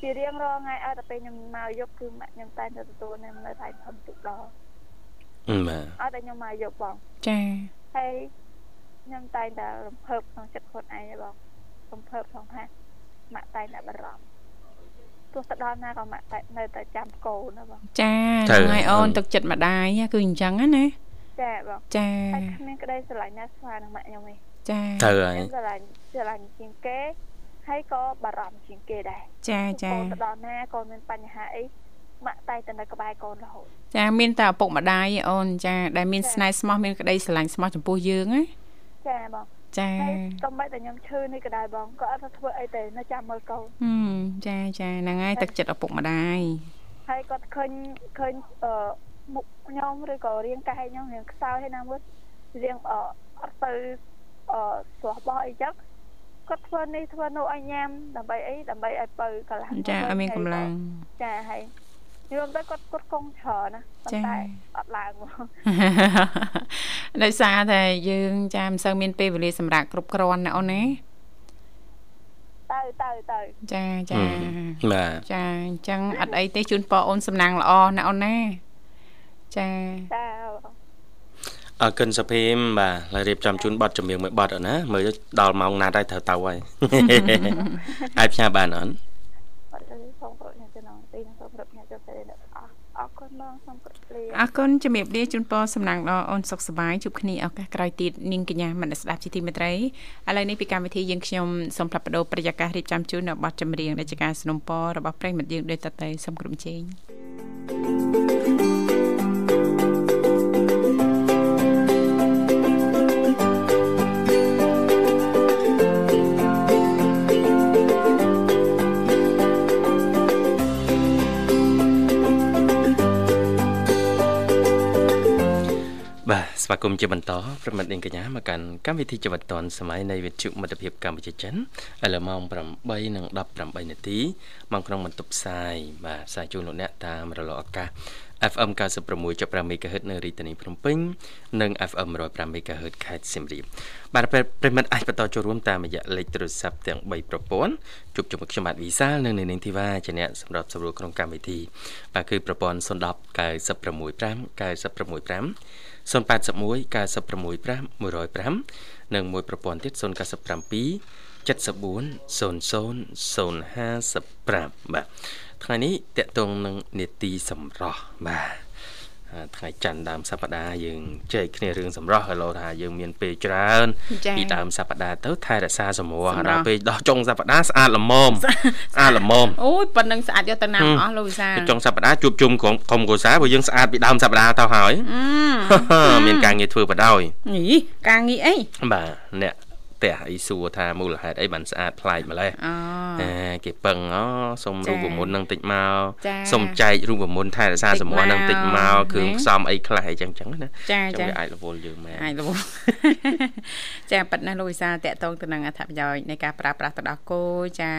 ជារៀងរាល់ថ្ងៃអត់ដល់ពេលខ្ញុំមកយកគឺម៉ាក់ខ្ញុំតែងតែទទួលនៅនៅថៃព្រមទូកដល់
បាទ
អត់តែខ្ញុំមកយកបង
ចា
ហើយខ្ញុំតែងតែរំភើបក្នុងចិត្តខ្លួនឯងទេបងរំភើបផងថាម៉ាក់តែងតែបារម្ភទោះទៅដល់ណាក៏ម៉ាក់តែនៅតែចាំកូនណាបង
ចាហ្នឹងហើយអូនទឹកចិត្តម្ដាយគឺអញ្ចឹងណា
ចាបង
ចា
ហើយគ្មានក្តីស្រឡាញ់ណាស្មើនឹងម៉ាក់ខ្ញុំទេ
ចា
ត្រូវហើយ
ខ្ញុំស្រឡាញ់ស្រឡាញ់ជាងគេហើយក៏បារម្ភជាងគេដែរ
ចាចា
កូនទៅដល់ណាកូនមានបញ្ហាអីម៉ាក់តែងតែនៅក្បែរកូនរហូត
ចាមានតែឪពុកម្ដាយឯអូនចាដែលមានស្នេហ៍ស្មោះមានក្តីស្រឡាញ់ស្មោះចំពោះយើងណា
ចាបង
ចា
ហើយសំបីតែខ្ញុំឈឺនេះក៏ដែរបងក៏អត់ទៅធ្វើអីទេនៅចាំមើលកូន
ហឹមចាចាហ្នឹងហើយទឹកចិត្តឪពុកម្ដាយ
ហើយគាត់ឃើញឃើញអឺមុខខ្ញុំឬក៏រាងកាយខ្ញុំរាងខ្សោយហើយណាមួយរាងអឺអត់ទៅអឺស្រស់បោះអីចឹងគាត់ធ្វើនេះធ្វើនោះឲ្យញ៉ាំដើម្បីអីដើម្បីឲ្យបើកម្លាំង
ចាឲ្យមានកម្លាំង (laughs)
ចាហើយយល់ទៅគាត់គាត់កងច្រើនណាប៉ុ
ចា
ន្តែអត់ឡើងមក
ដោយសារតែយើងចាមិនសូវមានពេលវេលាសម្រាប់គ្រប់គ្រាន់ណាអូនណា
ទៅទៅទៅ
ចាចា
បាទ
ចាអញ្ចឹងអត់អីទេជូនពរអូនសំណាងល្អណាអូនណាចា
ចា
អរគុណសុភីមបាទហើយរៀបចំជូនប័ណ្ណចម្រៀងមួយប័ណ្ណអូនណាមើលដល់ម៉ោងណាត់ហើយត្រូវទៅហើយ (laughs) អាចផ្សាយបានអូន
អត់ទៅសូមគោរពអ្នកចំណងទីនិងសូមគោរពអ្នកចូលទៅអ្នកទាំងអស់អរគុណបងសូមគោរពលា
អរគុណជំរាបលាជូនពរសំណាងល្អអូនសុខសប្បាយជួបគ្នាឱកាសក្រោយទៀតនាងកញ្ញាមនស្ដាប់ជាទីមេត្រីឥឡូវនេះពីកម្មវិធីយើងខ្ញុំសូមផ្លាប់បដោប្រយាកររៀបចំជូននៅប័ណ្ណចម្រៀងដែលជាការสนับสนุนរបស់ប្រិយមិត្តយើងដូចតទៅសូមក្រុមជេង
បាទស្វាគមន៍ជាបន្តប្រិមត្តនាងកញ្ញាមកកាន់កម្មវិធីជីវិតឌွန်សម័យនៃវិទ្យុមិត្តភាពកម្ពុជាចិនឥឡូវម៉ោង8:18នាទីមកក្នុងបន្ទប់ផ្សាយបាទផ្សាយជូនលោកអ្នកតាមរលកអាកាស FM 96.5 MHz នៅរាជធានីភ្នំពេញនិង FM 105 MHz ខេត្តសៀមរាបបាទប្រិមត្តអាចបន្តចូលរួមតាមរយៈលេខទូរស័ព្ទទាំង3ប្រព័ន្ធជួបជាមួយខ្ញុំបាទវិសាលនិងនៅនាងធីវ៉ាជាអ្នកសម្របសម្រួលក្នុងកម្មវិធីបាទគឺប្រព័ន្ធ010 965 965 081 965 105និងមួយប្រព័ន្ធទៀត097 74 00055បាទថ្ងៃនេះតកតងនឹងនេតិសម្រស់បាទអាថ្ងៃច័ន្ទដើមសប្តាហ៍យើងចែកគ្នារឿងសម្រស់ឥឡូវថាយើងមានពេលច្រើន
ចា៎
ពីដើមសប្តាហ៍ទៅថែរក្សាសម្រស់
សម្រស់
ដល់ពេលដោះចុងសប្តាហ៍ស្អាតល្មម ស្អាតល្មម
អូយប៉ុណ្្នឹងស្អាតយកទៅណាម
ហឹ
អ
ម
ស់លោកវិសាល
ចុងសប្តាហ៍ជួបជុំក្រុមក្រុមកោសារព្រោះយើងស្អាតពីដើមសប្តាហ៍ទៅហើយ
អ
(laughs) មានការងារធ្វើបដ ாய்
ឺនេះការងារអី
បាទអ្នកផ្ទះអីសួរថាមូលហេតុអីបានស្អាតប្លែកម្លេះ
អូ
អេគេពឹងអសុំ
ចា
រូបមន្តនឹងតិចមក
ចា
សុំចែករូបមន្តថែរក្សា
តិច
សម្រស់នឹងតិចម
មក
កគ្រឿង
ហ្នឹង
ផ្សំអីខ្លះអីចឹងចឹងណា
ចា
ចឹង
ចា
វាអាចរវល់យើងមែន
អាចលោក (laughs) ចាប៉ិតណាស់លោកវិសាលតកតងទៅនឹងអត្ថប្រយោជន៍នៃការប្រើប្រាស់ទឹកដោះគោចា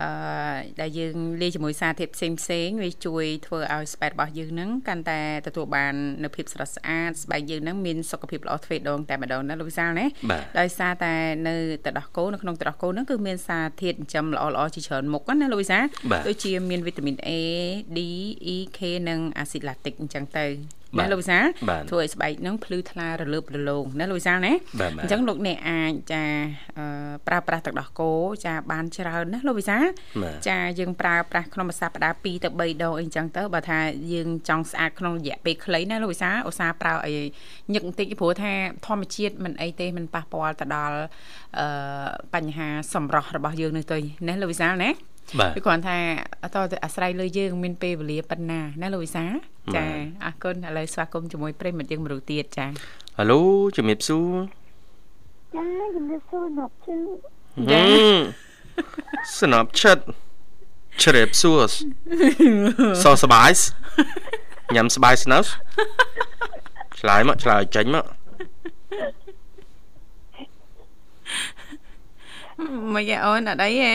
អឺដែលយើងលាយជាមួយសារធាតុផ្សេងផ្សេងៗវាជួយធ្វើឲ្យស្បែករបស់យើងហ្នឹងកាន់តែទទួលបាននូវភាពស្រស់ស្អាតស្បែកយើងហ្នឹងមានសុខភាពល្អទ្វេដងតែម្ដងណាលោកវិសាលណា
បាទ
ដោយសារតែនៅទឹកដោះគោនៅក្នុងទឹកដោះគោហ្នឹងគឺមានសារធាតុចិញ្ចឹមល្អល្អៗជាច្រើនមុខណាលោកវិសាល
បាទ
ដូចជាមានវីតាមីន A D E K និងអាស៊ីតឡាទិកអញ្ចឹងទៅ
បា
ណា
ទ
លោកវិសាល
បាទ
ធ្វើឲ្យស្បែកហ្នឹងភ្លឺថ្លារលើបរលោងណាលោកវិសាលណា
បាទបាទ
អញ្ចឹងលោកអ្នកអាចចាអឺប្រើប្រាស់ទឹកដោះគោចាបានច្រើនណាលោកវិសាល
បាទ
ចាយើងប្រើប្រាស់ក្នុងមួយសប្តាហ៍2ទៅ3ដងអីចឹងទៅបើថាយើងចង់ស្អាតក្នុងរយៈពេលខ្លីណាលោកវិសាលឧស្សាហ៍ប្រើឲ្យញឹកបន្តិចព្រោះថាធម្មជាតិមិនអីទេមិនប៉ះពាល់ទៅដល់អឺបញ្ហាសម្រស់របស់យើងនោះទេណាលោកវិសាលណា
បាទ
គឺគ្រាន់ថាអត់តទៅអាស្រ័យលើយើងមានពេលវេលាប៉ុណ្ណាណាលោកវិសាល
បាទ
ចាអរគុណឥឡូវស្វាគមន៍ជាមួយប្រិយមិត្តយើងមរុទៀតចា (laughs)
ហៅជំរាបសួរ
ចាជំរាបសួរអ្នកជើង
ហឹម (laughs) ស្នប់ឈិតជ្រាបសួរសោះសบายញ៉ាំសบายស្នៅឆ្លើយមកឆ្លើយចេញមក
(laughs) មកយ៉ាអូនអត់អីហ៎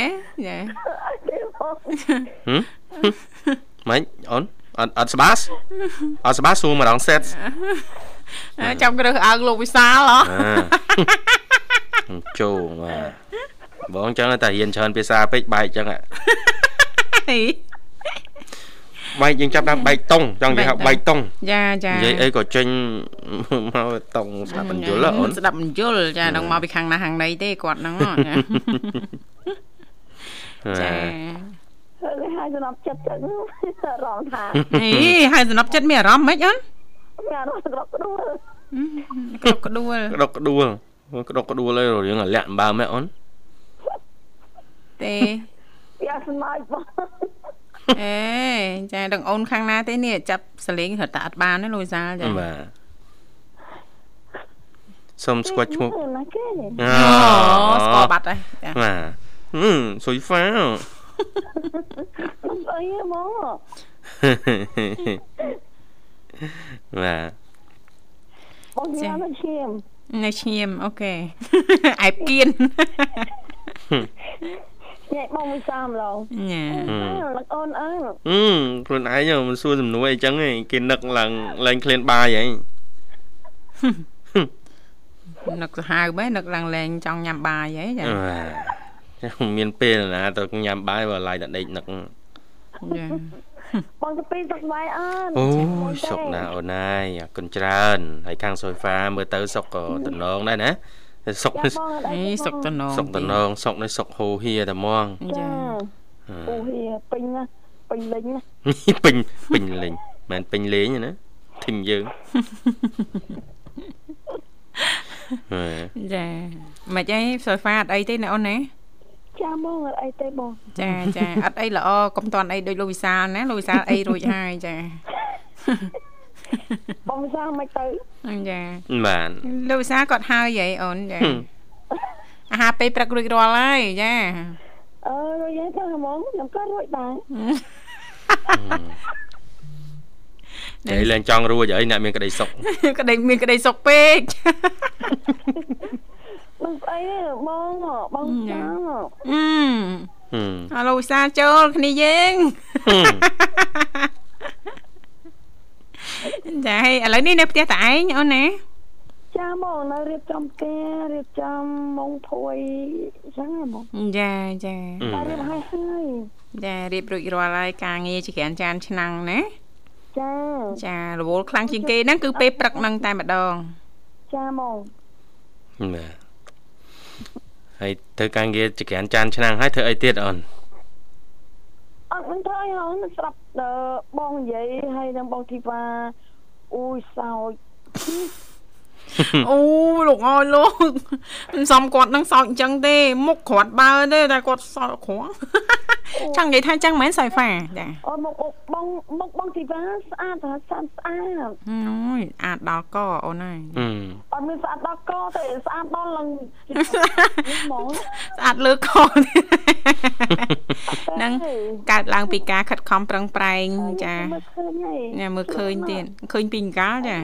ចា
អត់ទេបង
ហឹម (laughs) ម៉េចអូនអត់អត់សบายអត់សบายសួរម្ដង (laughs) សេត
ចាំគ្រឹះអើងលោកវិសាលហ៎
អ่าចូលបាទបងចឹងតែរៀនច្រើនភាសាពេកបែកចឹងហ่ะ
(laughs)
បែកយើងចាប់តាមបែកតុងចង់និយាយថាបែកតុង
ចាចា
និយាយអីក៏ចេញ (laughs) មកតុងស្ដាប់ (laughs) បញ្យលហ៎អូន
ស្ដាប់បញ្យលចាដល់មកពីខាងណាខាងណីទេគាត់ហ្នឹងហ៎ចា
ចា
ចា
គេហៅសំណប់ចិត្តចឹងអារម្មណ៍ថា
ហីហើយសំណប់ចិត្តមានអារម្មណ៍មិនអូន
មានអារម្មណ៍ស្រុក
គ្រប់
គ្រូ
ក្ដួល
ក្តុកក្ដួលក្តុកក្ដួលអីរឿងអាលាក់អំបើមែនអូន
ទេ
យ៉ាស្មោចបង
អេចាដល់អូនខាងណាទេនេះចាប់សលេងរត់តែអត់បានណាលោកវិសាលចា
បាទសុំស្គាល់ឈ្មោះ
គឺណាគេ
អូ
អូស្គាល់បាត់ហើយចា
បាទហឹមសុយហ្វា (laughs) វ
អីហ្មង
បាទ
បងញ៉ាំមកឈាម
នៅឈាមអូ (laughs) ខេ អែបគៀន (laughs)
ញ៉ៃបងវិសាមឡង
ញ៉ា
អឺ
លោកអូនអើយ
អឺខ្លួនឯងមិនសួរសំណួរអីចឹងឯងគេនឹកឡើងឡើងក្លែនបាយហី
នឹកសាហាវម៉េចនឹកឡើងលែងចង់ញ៉ាំបាយហីចា
ចាមានពេលណាទៅញ៉ាំបាយបើឡាយតែដេកនឹក
ចា
បងទៅពីសុខស្បាយអើយ
អូយសុកណាអូនណាយអរគុណច្រើនហើយខាងសុយហ្វាមើលទៅសុកក៏តំណងដែរណាសុក
ចា
នេះ
បងអត់អី
អី
ទេ
សុកតំណង
សុកតំណងសុកនេះសុកហូហៀតែហ្មង
ទេ
ចា
ចា
អូហៀពេញណាស់ពេញលេងណាស់
(laughs) ពេញពេញលេងមិនមែនពេញលេងទេណាធីម (laughs) យើងហេ
ចាមិនអីសូហ្វាអត់អីទេណាអូនណា
ចាបងអត់អីទេបង
ចាចាអត់អីល្អកុំតន់អីដូចលោកវិសាលណាលោកវិសាលអីរួចហើយចា (laughs)
បងវិសាមមិនទៅ
ចា
បាទ
លោកវិសាលគាត់ហើយហីអូនចា
ហឹម
អាហារពេលព្រឹករួចរាល់ហើយចា
អើរួចហើយទៅហ្មងខ្ញុំក៏រួចដែរ
(laughs)
និយាយឡើងចង់រួចហើយអ្នកមានក្តីសុខ
ក្តីមានក្តីសុខពេ (laughs) ក
បងស្អីទេបងបង
ញ៉ាំ
ចាំ
អឺ
ហឹម
អ
(laughs)
ឡូវវិសាលចូលគ្នាយើងចាហើយឥឡូវនេះនៅផ្ទះតឯងអូនណា
ចាបងនៅរៀបចំផ្ទះរៀបចំមុងភួយអញ្ចឹងហ៎បង
ចាចា
ហឹម
តែរៀបហើយហើយ
ចារៀបរួចរាល់ហើយការងារជាច្រើនចានឆ្នាំងណា
ចា
ចារវល់ខ្លាំងជាងគេហ្នឹងគឺពេលព្រឹកហ្នឹងតែម្ដង
ចាបង
បាទហើយធ្វើការងារចក្រានចានឆ្នាំងហើយធ្វើអីទៀតអូន
អត់មិនធ្វើអីហ៎ស្រាប់តែបងនិយាយហើយនឹងបងធីវ៉ាអូយសោច
អូលោកអើយលោកមិនសមគាត់ហ្នឹងសោកអញ្ចឹងទេមុខគ្រាត់បើទេតែគាត់សោកគ្រាន់ចង់និយាយថាអញ្ចឹងមិនមែនសៃហ្វាចា
អូយមកមកបងមកបងធីវ៉ាស្អាតហ៎ស្អាតស្អាត
អូយអាចដល់កអូនហើយ
ហឹម
អត់មានស្អាតដល់កទេស្អាតដល់លឹងហ្មង
ស្អាតលើកក ហ្នឹង
តែ
កើតឡើងពីការខិតខំប្រឹងប្រែងចា
មើលឃើញហើយ
ញ៉ាមើលឃើញទៀតឃើញពីអង្កាលចា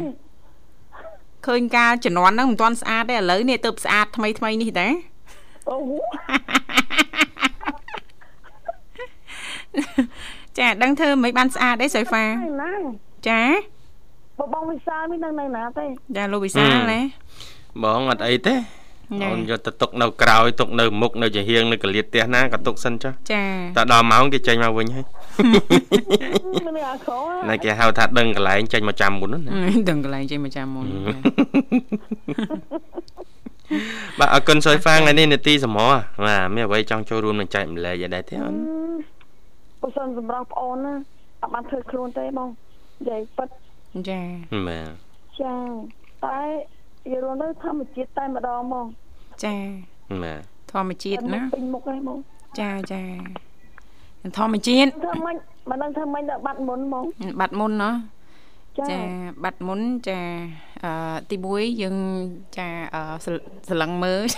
ឃើញកាលជំនាន់ហ្នឹងមិនទាន់ស្អាតទេឥឡូវនេះទៅស្អាតថ្មីថ្មីនេះតា (laughs)
អូ
ចាដឹងធ្វើមិនបានស្អាតទេសុយហ្វា
ហ្នឹងណា
ចា (laughs)
បងបងវិសាលមាននៅណាទេ
ចាលោកវិសាលណា
(laughs) បងអត់អីទេ
ណែ
អូនយកទៅទុកនៅក្រោយទុកនៅមុខនៅជាហៀងនៅកលៀតផ្ទះណាក៏ទុកសិនចុះ
ចា
តែដល់ម៉ោងគេចេញមក (laughs) វិញហើយ
មិនអាខោ
ណែគេហៅថាដឹងកន្លែងចេញមកចាំមុនហ្នឹងណា
អឺដឹងកន្លែងចេញមកចាំមុនចា
(laughs) បាទអរគុណសុយហ្វាងថ្ងៃនេះនេតិសមរបាទមានអ្វីចង់ចូលរួមនឹងចែកម្លែកឲ្យដែរទេអូន
បើសិនសម្រាប់ប្អូនណាអត់បានធ្វើខ្លួនទេបងនិយាយពិត
ចា
បាទ
ចាតែនិយាយរួមទៅធម្មជាតិតែម្ដងមក
ចា
បាទ
ធម្មជាតិណា
ពេញមុខហ្នឹងបង
ចាចាធម្មជាតិ
ធ្វើមិនមិនដឹងធ្វើមិនដល់បាត់មុនហ្មង
បាត់មុនណា
ចា
ចាបាត់មុនចាអឺទី1យើងចាអឺស្រស្រលឹងមើល (laughs)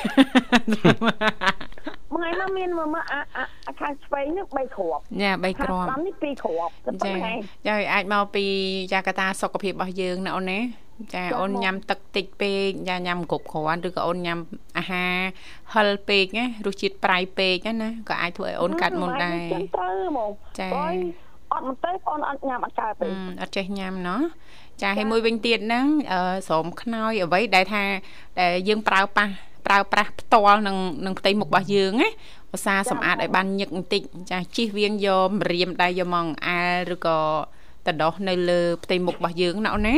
មួយថ្ងៃមកមានមើលមើលអាអាអាខាងស្វែងនេះ3គ្រាប់
ចាបីគ្រាប់
ខាងស្ដាំនេះ2គ្រាប់តែប៉ុ
ចា
ណ្ណេះ
ចាអាចមកពីចាកតាសុខភាពរបស់យើងណាអូនណាចា
ចា
អូន
បង
ញ៉ាំទឹកតិចពេកចាញ៉ាំគ្រប់គ្រាន់ឬក៏អូនញ៉ាំអាហារហឹលពេកណារសជាតិប្រៃពេកណាណាក៏អាចធ្វើឲ្យអូនកាត់មុនដែរ
ចឹងទៅហ្មង
ចា
អយអត់មិនទេប្អូនអត់ញ៉ាំអត់កើតទេ
អឺអត់ចេះញ៉ាំណោះចាហើយមួយវិញទៀតហ្នឹងអឺស្រោមខ្នើយអ្វីដែលថាដែលយើងប្រើប៉ះប្រើប្រាស់ផ្ទាល់នឹងនឹងផ្ទៃមុខរបស់យើងណាភាសា
ចា៎
សម្អាតឲ្យបានញឹកបន្តិចចាជិះវៀងយកម្រាមដៃយកមកអង្អែលឬក៏តដោះនៅលើផ្ទៃមុខរបស់យើងណាអូនណា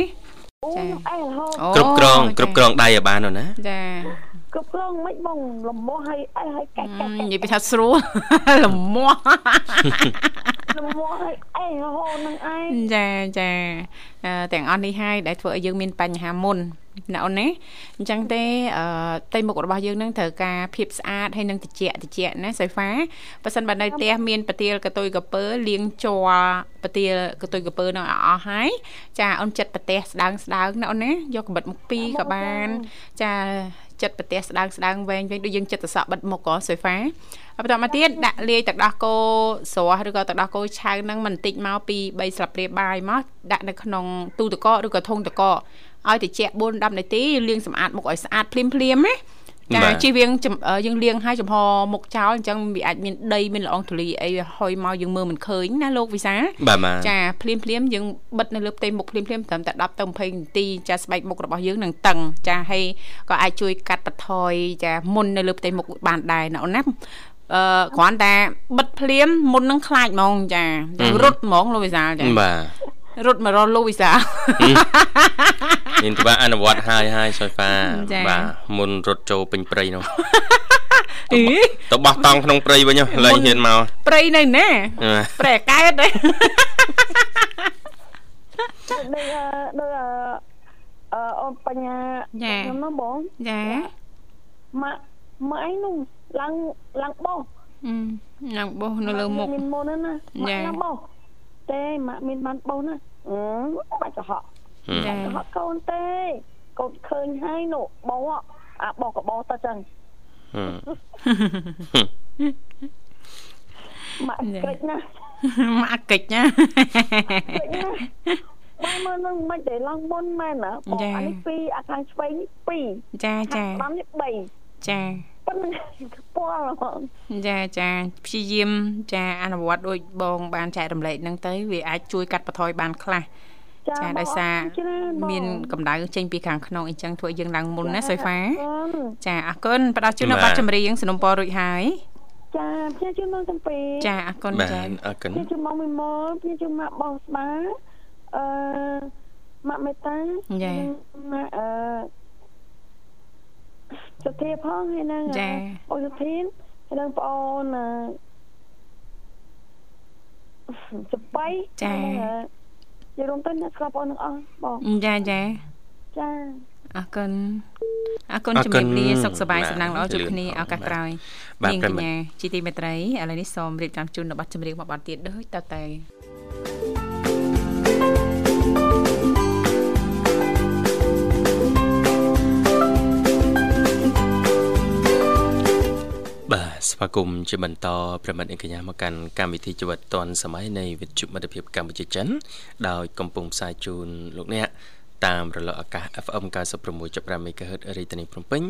អូ
ចា
ខ្ញុំអែរហូត
អូ
គ្រប់គ្រង
ចា
គ្រប់គ្រងដៃឲ្យបានអូនណា
ចា
គ្រប់គ្រងមិនបងលំមាស់ឲ្យអែរឲ្យកាច់
អឺ
កាច់
និយាយពី
កាច់
ថាស្រួល (laughs) លំមា (laughs) ស់
លំមាស់ឲ្យអែរហូតនឹងឯង
ចាចាអឺទាំងអស់នេះហើយដែលធ្វើឲ្យយើងមានបញ្ហាមុនណាអូនណាអញ្ចឹងទេអឺផ្ទៃមុខរបស់យើងនឹងត្រូវការភាពស្អាតហើយនឹងត្រជាក់ត្រជាក់ណាសុយហ្វាបើសិនបើនៅផ្ទះមានប្រទាលកតុយកពើលាងជ័រប្រទាលកតុយកពើនឹងឲ្យអស់ហើយចាអូនចិត្តប្រទេសស្ដើងស្ដើងណាអូនណាយកកបិតមុខពីរក៏បាន ចាចិត្តប្រទេសស្ដើងស្ដើងវែងវែងដូចយើងចិត្តសក់បិទមុខក៏សុយហ្វាហើយបន្តមកទៀតដាក់លាយទឹកដោះគោស្រស់ឬក៏ទឹកដោះគោឆៅហ្នឹងមិនតិចមកពី3ស្លាបព្រាបាយមកដាក់នៅក្នុងទូទឹកកកឬក៏ធុងទឹកកកឲ្យត្រជាក់4 10នាទីលាងសម្អាតមុខឲ្យស្អាតភ្លាមភ្លាមៗណាចាជិះវៀងចំអឺយើងលាងហើយចំហមុខចោលអញ្ចឹងវាអាចមានដីមានល្អងធូលីអីហុយមកយើងមើលមិនឃើញណាលោកវិសា
បាទបាទ
ចាភ្លាមភ្លាមយើងបិទនៅលើផ្ទៃមុខភ្លាមភ្លាមត្រឹមតែ10ទៅ20នាទីចាស្បែកមុខរបស់យើងនឹងតឹងចាហើយក៏អាចជួយកាត់បន្ថយចាមុននៅលើផ្ទៃមុខបានដែរណាអូនណាអឺគ្រាន់តែបិទភ្លាមមុននឹងខ្លាចហ្មងចារត់ហ្មងលោកវិសាលចា
បាទ
រត់មករកលោកវិសាល
មានតបាអនុវត្តហើយហើយសុយហ្វា
ចា
បាទមុនរត់ចូលពេញព្រៃនោះ
(laughs) អី
ទៅបោះតង់ក្នុងព្រៃវិញហ៎លែងហ៊ានមក
ព្រៃនៅណា
បាទ
ព្រៃអាកែ
(laughs)
តទេ
ដូចអឺដូចអឺអឺអូនបញ្ញា
ចា
ខ្ញុំណាបង
ចា
ម៉ាក់ម៉ាក់ឯងនោះឡើងឡើងបោះ
អឺនឹងបោះនៅលើមុខ
មានមុនហ្នឹងណាម៉ា
ចា
ក់ឡើងបោះទេម៉ាក់មានបានបោះណាអឺបាច់កុហក
ចា (laughs)
កុហកកូនទេកូនឃើញហើយនោះបោះអ្ហ៎អាបោះក៏បោះទៅចឹង
ហឹម
ម៉ាក់ក្រេចណាស់
មកអាកិច្ច (laughs) ណា
ក្រេចណាស់បងមើលនឹងមិនដែលឡើងមុនមែនណាបង
ចា
អានេះពីរអាខាងឆ្វេងនេះពីរ
ចា
ខា
ចា
ងស្ដាំនេះ
ចា
3ប៉ុណ្ណឹង (laughs) ខ្ពស់ហ្មង
ចាចាព្យាយាមចាអនុវត្តដូចបងបានចែករំលែកហ្នឹងទៅវាអាចជួយកាត់បន្ថយបានខ្លះចាដោយសារមានកម្ដៅចេញពីខាងក្នុងអីចឹងធ្វើឲ្យយើងឡើងមុនណាសុយហ្វាចាអរគុណផ្ដល់ជូននៅប័ណ្ណចម្រៀងสนំពររួចហើយ
ចាខ្ញុំជួយមកទាំងពីរ
ចាអរគុណ
បា
ចា
ទអរគុណ
ខ្ញុំជួយមកមីមលខ្ញុំជួយមកបងស្បាអឺមកមេតាមកអឺសុធាផងហើយនឹងអូសុធានហើយនឹងបងអូនចបៃនិយាយរួមទៅអ្នកស្គាល់បងនឹងអស់បង
ចាចា
ចា
អរគុណអរគុណជំរាបលាសុខសប្បាយសំណាងល្អជួបគ្នាឱកាសក្រោយ
បាទ
នាង
ប្រិ
ក
មត្ត
ញ្ញាជីទីមេត្រីឥឡូវនេះសូមរៀបចំជូននៅប័ណ្ណចម្រៀងមួយប័ណ្ណទៀតដូចតទៅ
បាទស្វាគមន៍ជាបន្តប្រិមត្តអ្នកកញ្ញាមកកាន់កម្មវិធីជីវិតឌွန်សម័យនៃវិទ្យុមិត្តភាពកម្ពុជាចិនដោយកំពុងផ្សាយជូនលោកអ្នកតាមរលកអាកាស FM 96.5 MHz រាជធានីភ្នំពេញ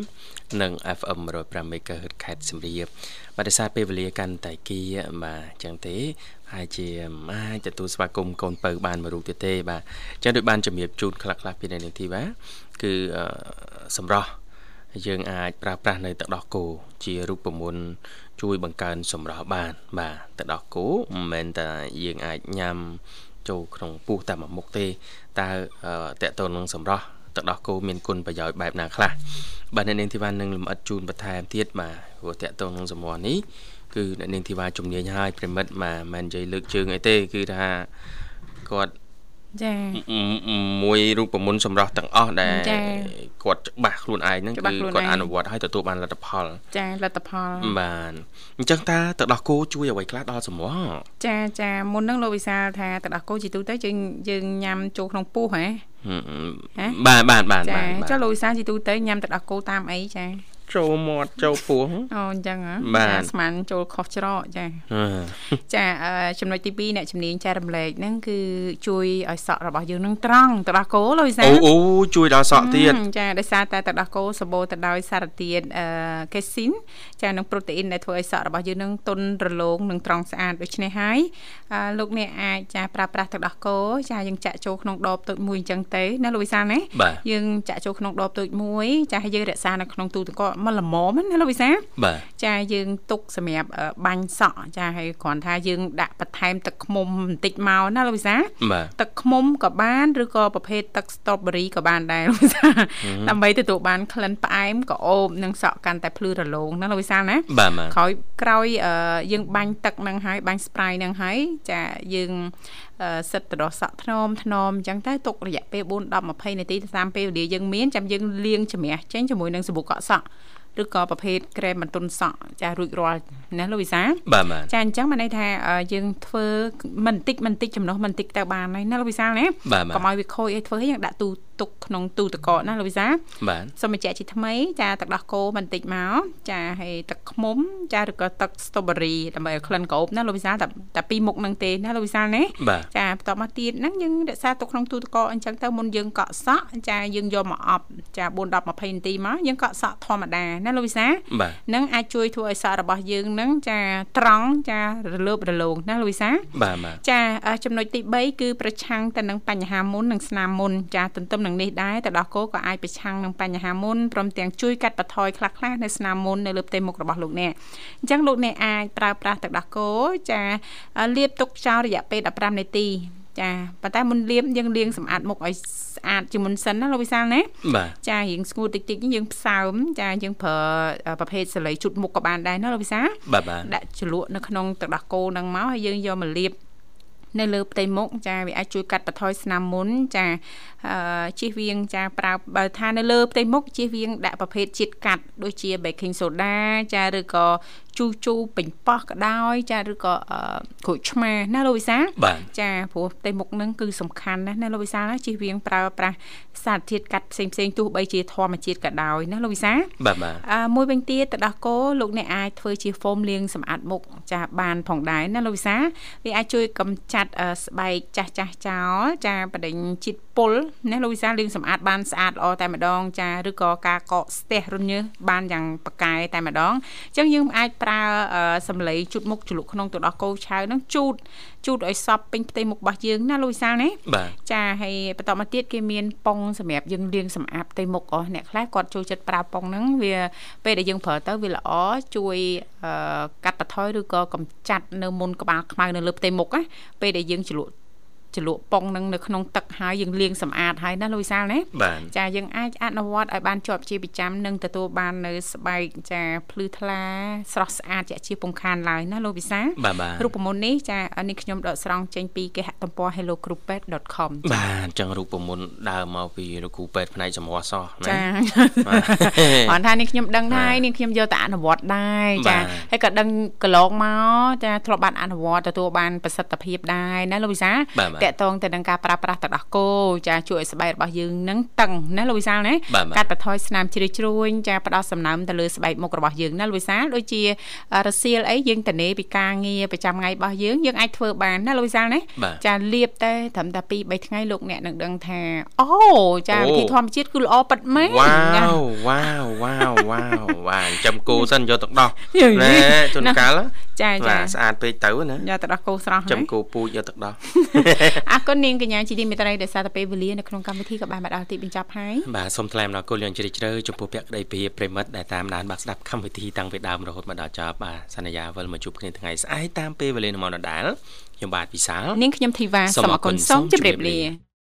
និង FM 105 MHz ខេត្តសៀមរាបបាទដោយសារពេលវេលាកាន់តែគៀបាទអញ្ចឹងទេ ហើយជាមិនអាចទទួលស្វាគមន៍កូនពៅបានមួយរូបទៀតទេ បាទអញ្ចឹងដូចបានជំរាបជូនខ្លះៗពីនៅនាងធីវ៉ាគឺអឺសម្រាប់ យើងអាចប្រើប្រាស់នៅទឹកដោះគោជារូបមន្តជួយបង្កើនសម្រស់បាន បាទទឹកដោះគោមិនមែនតែយើងអាចញ៉ាំចូលក្នុងពោះតែមួយមុខទេតើតកតូននឹងសម្រស់ទឹកដោះគោមានគុណប្រយោជន៍បែបណាខ្លះបាទអ្នកនាងធីវ៉ានឹងលំអិតជូនបន្ថែមទៀតបាទព្រោះតកតូននឹងសម្រស់នេះគឺអ្នកនាងធីវ៉ាជំនាញហើយប្រិមិត្តបាទមិនមែននិយាយលើកជើងអីទេ គឺថាគាត់
ចា៎
មួយរូបមន្តសម្រាប់ទាំងអស់ដែល
ចា៎
គាត់ច្បាស់ខ្លួនឯងហ្នឹង
ច្បាស់
គឺ
ខ្លួន
គាត់
ឯង
អនុវត្តឲ្យទទួលបានលទ្ធផល
ចាលទ្ធផល
បានអញ្ចឹងតើទឹកដោះគោជួយអ្វីខ្លះដល់សម្រស់
ចាចាមុនហ្នឹងលោកវិសាលថាទឹកដោះគោជាទូទៅយើងយើងញ៉ាំចូលក្នុងពោះហ៎ ហ៎
បាទបាទបាទ
ចា
បាទបាទ
ចុះលោកវិសាលជាទូទៅញ៉ាំទឹកដោះគោតាមអីចា
ចូលមាត់ចូលពោះ
អូអញ្ចឹងហ៎
បាទ
ចាស្មានចូលខុសច្រកចា ចាអឺចំណុចទី2អ្នកជំនាញចែករំលែកហ្នឹងគឺជួយឲ្យសក់របស់យើងនឹងត្រង់ទឹកដោះគោលោកវិសា
អូ
ល
អូជួយដល់សក់ទៀត
ហឹមចាដោយសារតែទឹកដោះគោសម្បូរទៅដោយសារធាតុអឺកេស៊ីនចានិងប្រូតេអ៊ីនដែលធ្វើឲ្យសក់របស់យើងនឹងទន់រលោងនិងត្រង់ស្អាតដូច្នេះហើយអឺលោកអ្នកអាចចាប្រើប្រាស់ទឹកដោះគោចាយើងចាក់ចូលក្នុងដបតូចមួយអញ្ចឹងទៅណាលោកវិសាលណា
បាទ
យើងចាក់ចូលក្នុងដបតូចមួយចាហើយយើងរក្សានៅក្នុងទូទឹកកកមួយល្មមណាលោកវិសាល
បាទ
ចាយើងទុកសម្រាប់អឺបាញ់សក់ចាហើយគ្រាន់ថាយើងដាក់បន្ថែមទឹកខ្មុំបន្តិចមកណាលោកវិសាល
បាទ
ទឹកខ្មុំក៏បានឬក៏ប្រភេទទឹក strawberry ក៏បានដែរលោកវិសាលដើម្បីទទួលបានក្លិនផ្អែមក៏អូបនិងសក់កាន់តែភ្លឺរលោងណាលោកវិសាលណា
បាទបាទ
ក្រោយក្រោយអឺយើងបាញ់ទឹកហ្នឹងហើយបាញ់ spray ហ្នឹងហើយចាយើងអឺសិតទៅដោះសក់ថ្នមថ្នមអញ្ចឹងទៅទុករយៈពេល4 10 20នាទីទៅតាមពេលវេលាយើងមានចាំយើងលាងជំរះចេញជាមួយនឹងសាប៊ូកក់សក់ឬក៏ប្រភេទក្រែមបន្ទន់សក់ចារួចរាល់ណាលោកវិសាល
បាទបាទ
ចាអញ្ចឹងបានន័យថាអឺយើងធ្វើមិនតិចមិនតិចចំណុះមិនតិចទៅបានហើយណាលោកវិសាលណា
បាទ
កុំ
បាទ
ឲ្យវាខូចអីធ្វើឲ្យយើងដាក់ទូទុកក្នុងទូទឹកកកណាលោកវិសាល
បាទ
សូមបញ្ជាក់ជាថ្មី ចាទឹកដោះគោមិនតិចមកចាហើយទឹកខ្មុំចាឬក៏ទឹក strawberry ដើម្បីឲ្យក្លិនក្រអូបណាលោកវិសាលតែតែពីរមុខហ្នឹងទេណាលោកវិសាលណា
បាទ
ចាបន្តមកទៀតហ្នឹងយើងរក្សាទុកក្នុងទូទឹកកកអញ្ចឹងទៅមុនយើងកក់សក់ចាយើងយកមកអប់ចា4 10 20នាទីមកយើងកក់សក់ធម្មតាណាលោកវិសាល
បាទ
នឹងអាចជួយធ្វើឲ្យសក់របស់យើងនឹងចាត្រង់ចារលើបរលោងណាលូវីសា
បាទបាទ
ចាអឺចំណុចទី3គឺប្រឆាំងទៅនឹងបញ្ហាមុននិងស្នាមមុនចាទន្ទឹមនឹងនេះដែរទឹកដោះគោក៏អាចប្រឆាំងនឹងបញ្ហាមុនព្រមទាំងជួយកាត់បន្ថយខ្លះខ្លះនៅស្នាមមុននៅលើផ្ទៃមុខរបស់លោកអ្នកអញ្ចឹងលោកអ្នកអាចប្រើប្រាស់ទឹកដោះគោចាអឺលាបទុកចោលរយៈពេល15នាទីចាប៉ុន្តែមុនលាបយើងលាងសម្អាតមុខឲ្យស្អាតជាមុនសិនណាលោកវិសាលណា
បាទ
ចារៀងស្ងួតតិចតិចៗយើងផ្សើមចាយើងប្រើអឺប្រភេទសលៃជូតមុខក៏បានដែរណាលោកវិសាល
បាទបាទ
ដាក់ជ្រលក់នៅក្នុងទឹកដោះគោហ្នឹងមកហើយយើងយកមកលាបនៅលើផ្ទៃមុខចាវាអាចជួយកាត់បន្ថយស្នាមមុនចាអឺជិះវៀងចាប្រើបើថានៅលើផ្ទៃមុខជិះវៀងដាក់ប្រភេទជាតិកាត់ដូចជា baking soda ចាឬក៏ជូរជូរប៉េងប៉ោះក៏ដោយចាឬក៏អឺក្រូចឆ្មាណាលោកវិសាល
បាទ
ចាព្រោះផ្ទៃមុខហ្នឹងគឺសំខាន់ណាស់ណាលោកវិសាលណាជិះវៀងប្រើប្រាស់សារធាតុកាត់ផ្សេងផ្សេងៗទោះបីជាធម្មជាតិក៏ដោយណាលោកវិសាល
បាទបាទ
អឺមួយវិញទៀតទឹកដោះគោលោកអ្នកអាចធ្វើជាហ្វូមលាងសម្អាតមុខចាបានផងដែរណាលោកវិសាលវាអាចជួយកម្ចាត់អឺស្បែកចាស់ចាស់ៗចោលចាបដិញជាតិពុលណាលោកវិសាលលាងសម្អាតបានស្អាតល្អតែម្ដងចាឬក៏ការកកស្ទះរំញើសបានយ៉ាងប្រកែតែម្ដងអញ្ចឹងយើងអាចប្រើអឺសម្លៃជូតមុខជលក់ក្នុងទឹកដោះគោឆៅហ្នឹងជូត ជូតឲ្យសពពេញផ្ទៃមុខរបស់យើងណាលោកវិសាលណា
បាទ
ចាហើយបន្តមកទៀតគេមានប៉ុងសម្រាប់យើងលាងសម្អាតផ្ទៃមុខអស់អ្នកខ្លះគាត់ចូលចិត្តប្រើប៉ុងហ្នឹងវាពេលដែលយើងប្រើទៅវាល្អជួយអឺកាត់បន្ថយឬក៏កម្ចាត់នៅមុនក្បាលខ្មៅនៅលើផ្ទៃមុខណាពេលដែលយើងជ្រលក់ជ្រលក់ប៉ុងហ្នឹងនៅក្នុងទឹកហើយយើងលាងសម្អាតហើយណាលោកវិសាលណា
បាទ
ចាយើងអាចអនុវត្តឲ្យបានជាប់ជាប្រចាំនិងទទួលបាននៅស្បែកចាភ្លឺថ្លាស្រស់ស្អាតជាក់ជាពុំខានឡើយណាលោកវិសាល
បាទបាទ
រូបមន្តនេះចានេះខ្ញុំដកស្រង់ចេញពីគេហទំព័រ hellogroup.com
បាទអញ្ចឹងរូបមន្តដើរមកពីលោកគ្រូពេទ្យផ្នែកសម្រស់សោះណា
ចា
បាទ
អត់ថានេះខ្ញុំដឹងហើយនេះខ្ញុំយកទៅអនុវត្តដែរចា
បាទ
ហើយក៏ដឹងកន្លងមកចាធ្លាប់បានអនុវត្តទទួលបានប្រសិទ្ធភាពដែរណាលោកវិសាល
បាទបាទ
តកតងទៅនឹងការប្រើប្រាស់ទឹកដោះគោចាជួយឲ្យស្បែករបស់យើងនឹងតឹងណាលោកវិសាលណា
បាទ
កា
បាទ
ត់បន្ថយស្នាមជ្រាជ្រួញចាផ្ដោតសំណើមទៅលើស្បែកមុខរបស់យើងណាលោកវិសាលដូចជាអឺរសៀលអីយើងតនេពីការងារប្រចាំថ្ងៃរបស់យើងយើងអាចធ្វើបានណាលោកវិសាលណា
បាទ
ចាលាបតែត្រឹមតែ2 3ថ្ងៃលោកអ្នកនឹងដឹងថាអូចា
អូ
វិធីធម្មជាតិគឺល្អប៉ិតមែន
វ៉ាវវ៉ាវវ៉ាវវ៉ាវវ៉ាវចាំគោសិនយកទឹកដោះ
យី
ណែជូន
ណា
កាល
ចា
បា
ចា
ទស្អាតពេកទៅណា
យកទៅដោះគោស្រស់
ចំ
ណា
គោពូជយកទឹកដោះ
អរគុណនាងកញ្ញាជីទីមេត្រីដែលសារតែពេលវេលានៅក្នុងកម្មវិធីក៏បានមកដល់ទីបញ្ចប់ហើយ
បាទសូមថ្លែងអំណរគុណយ៉ាងជ្រាលជ្រៅចំពោះពាក្យក្តីពីប្រិមិត្តដែលតាមដានបាទស្ដាប់កម្មវិធីតាំងពីដើមរហូតមកដល់ចប់បាទសន្យាវិលមកជួបគ្នាថ្ងៃស្អែកតាមពេលវេលានាំដដែលខ្ញុំបាទវិសាល
នាងខ្ញុំធីវ៉ា
សូ
សូ
ម
ម
អ
អ
រ
រ
គុ
គុ
ណ
ណ
សូ
សូ
ម
ម
ជ
ជ
ម្រា
ម្រា
ប
ប
លា
លា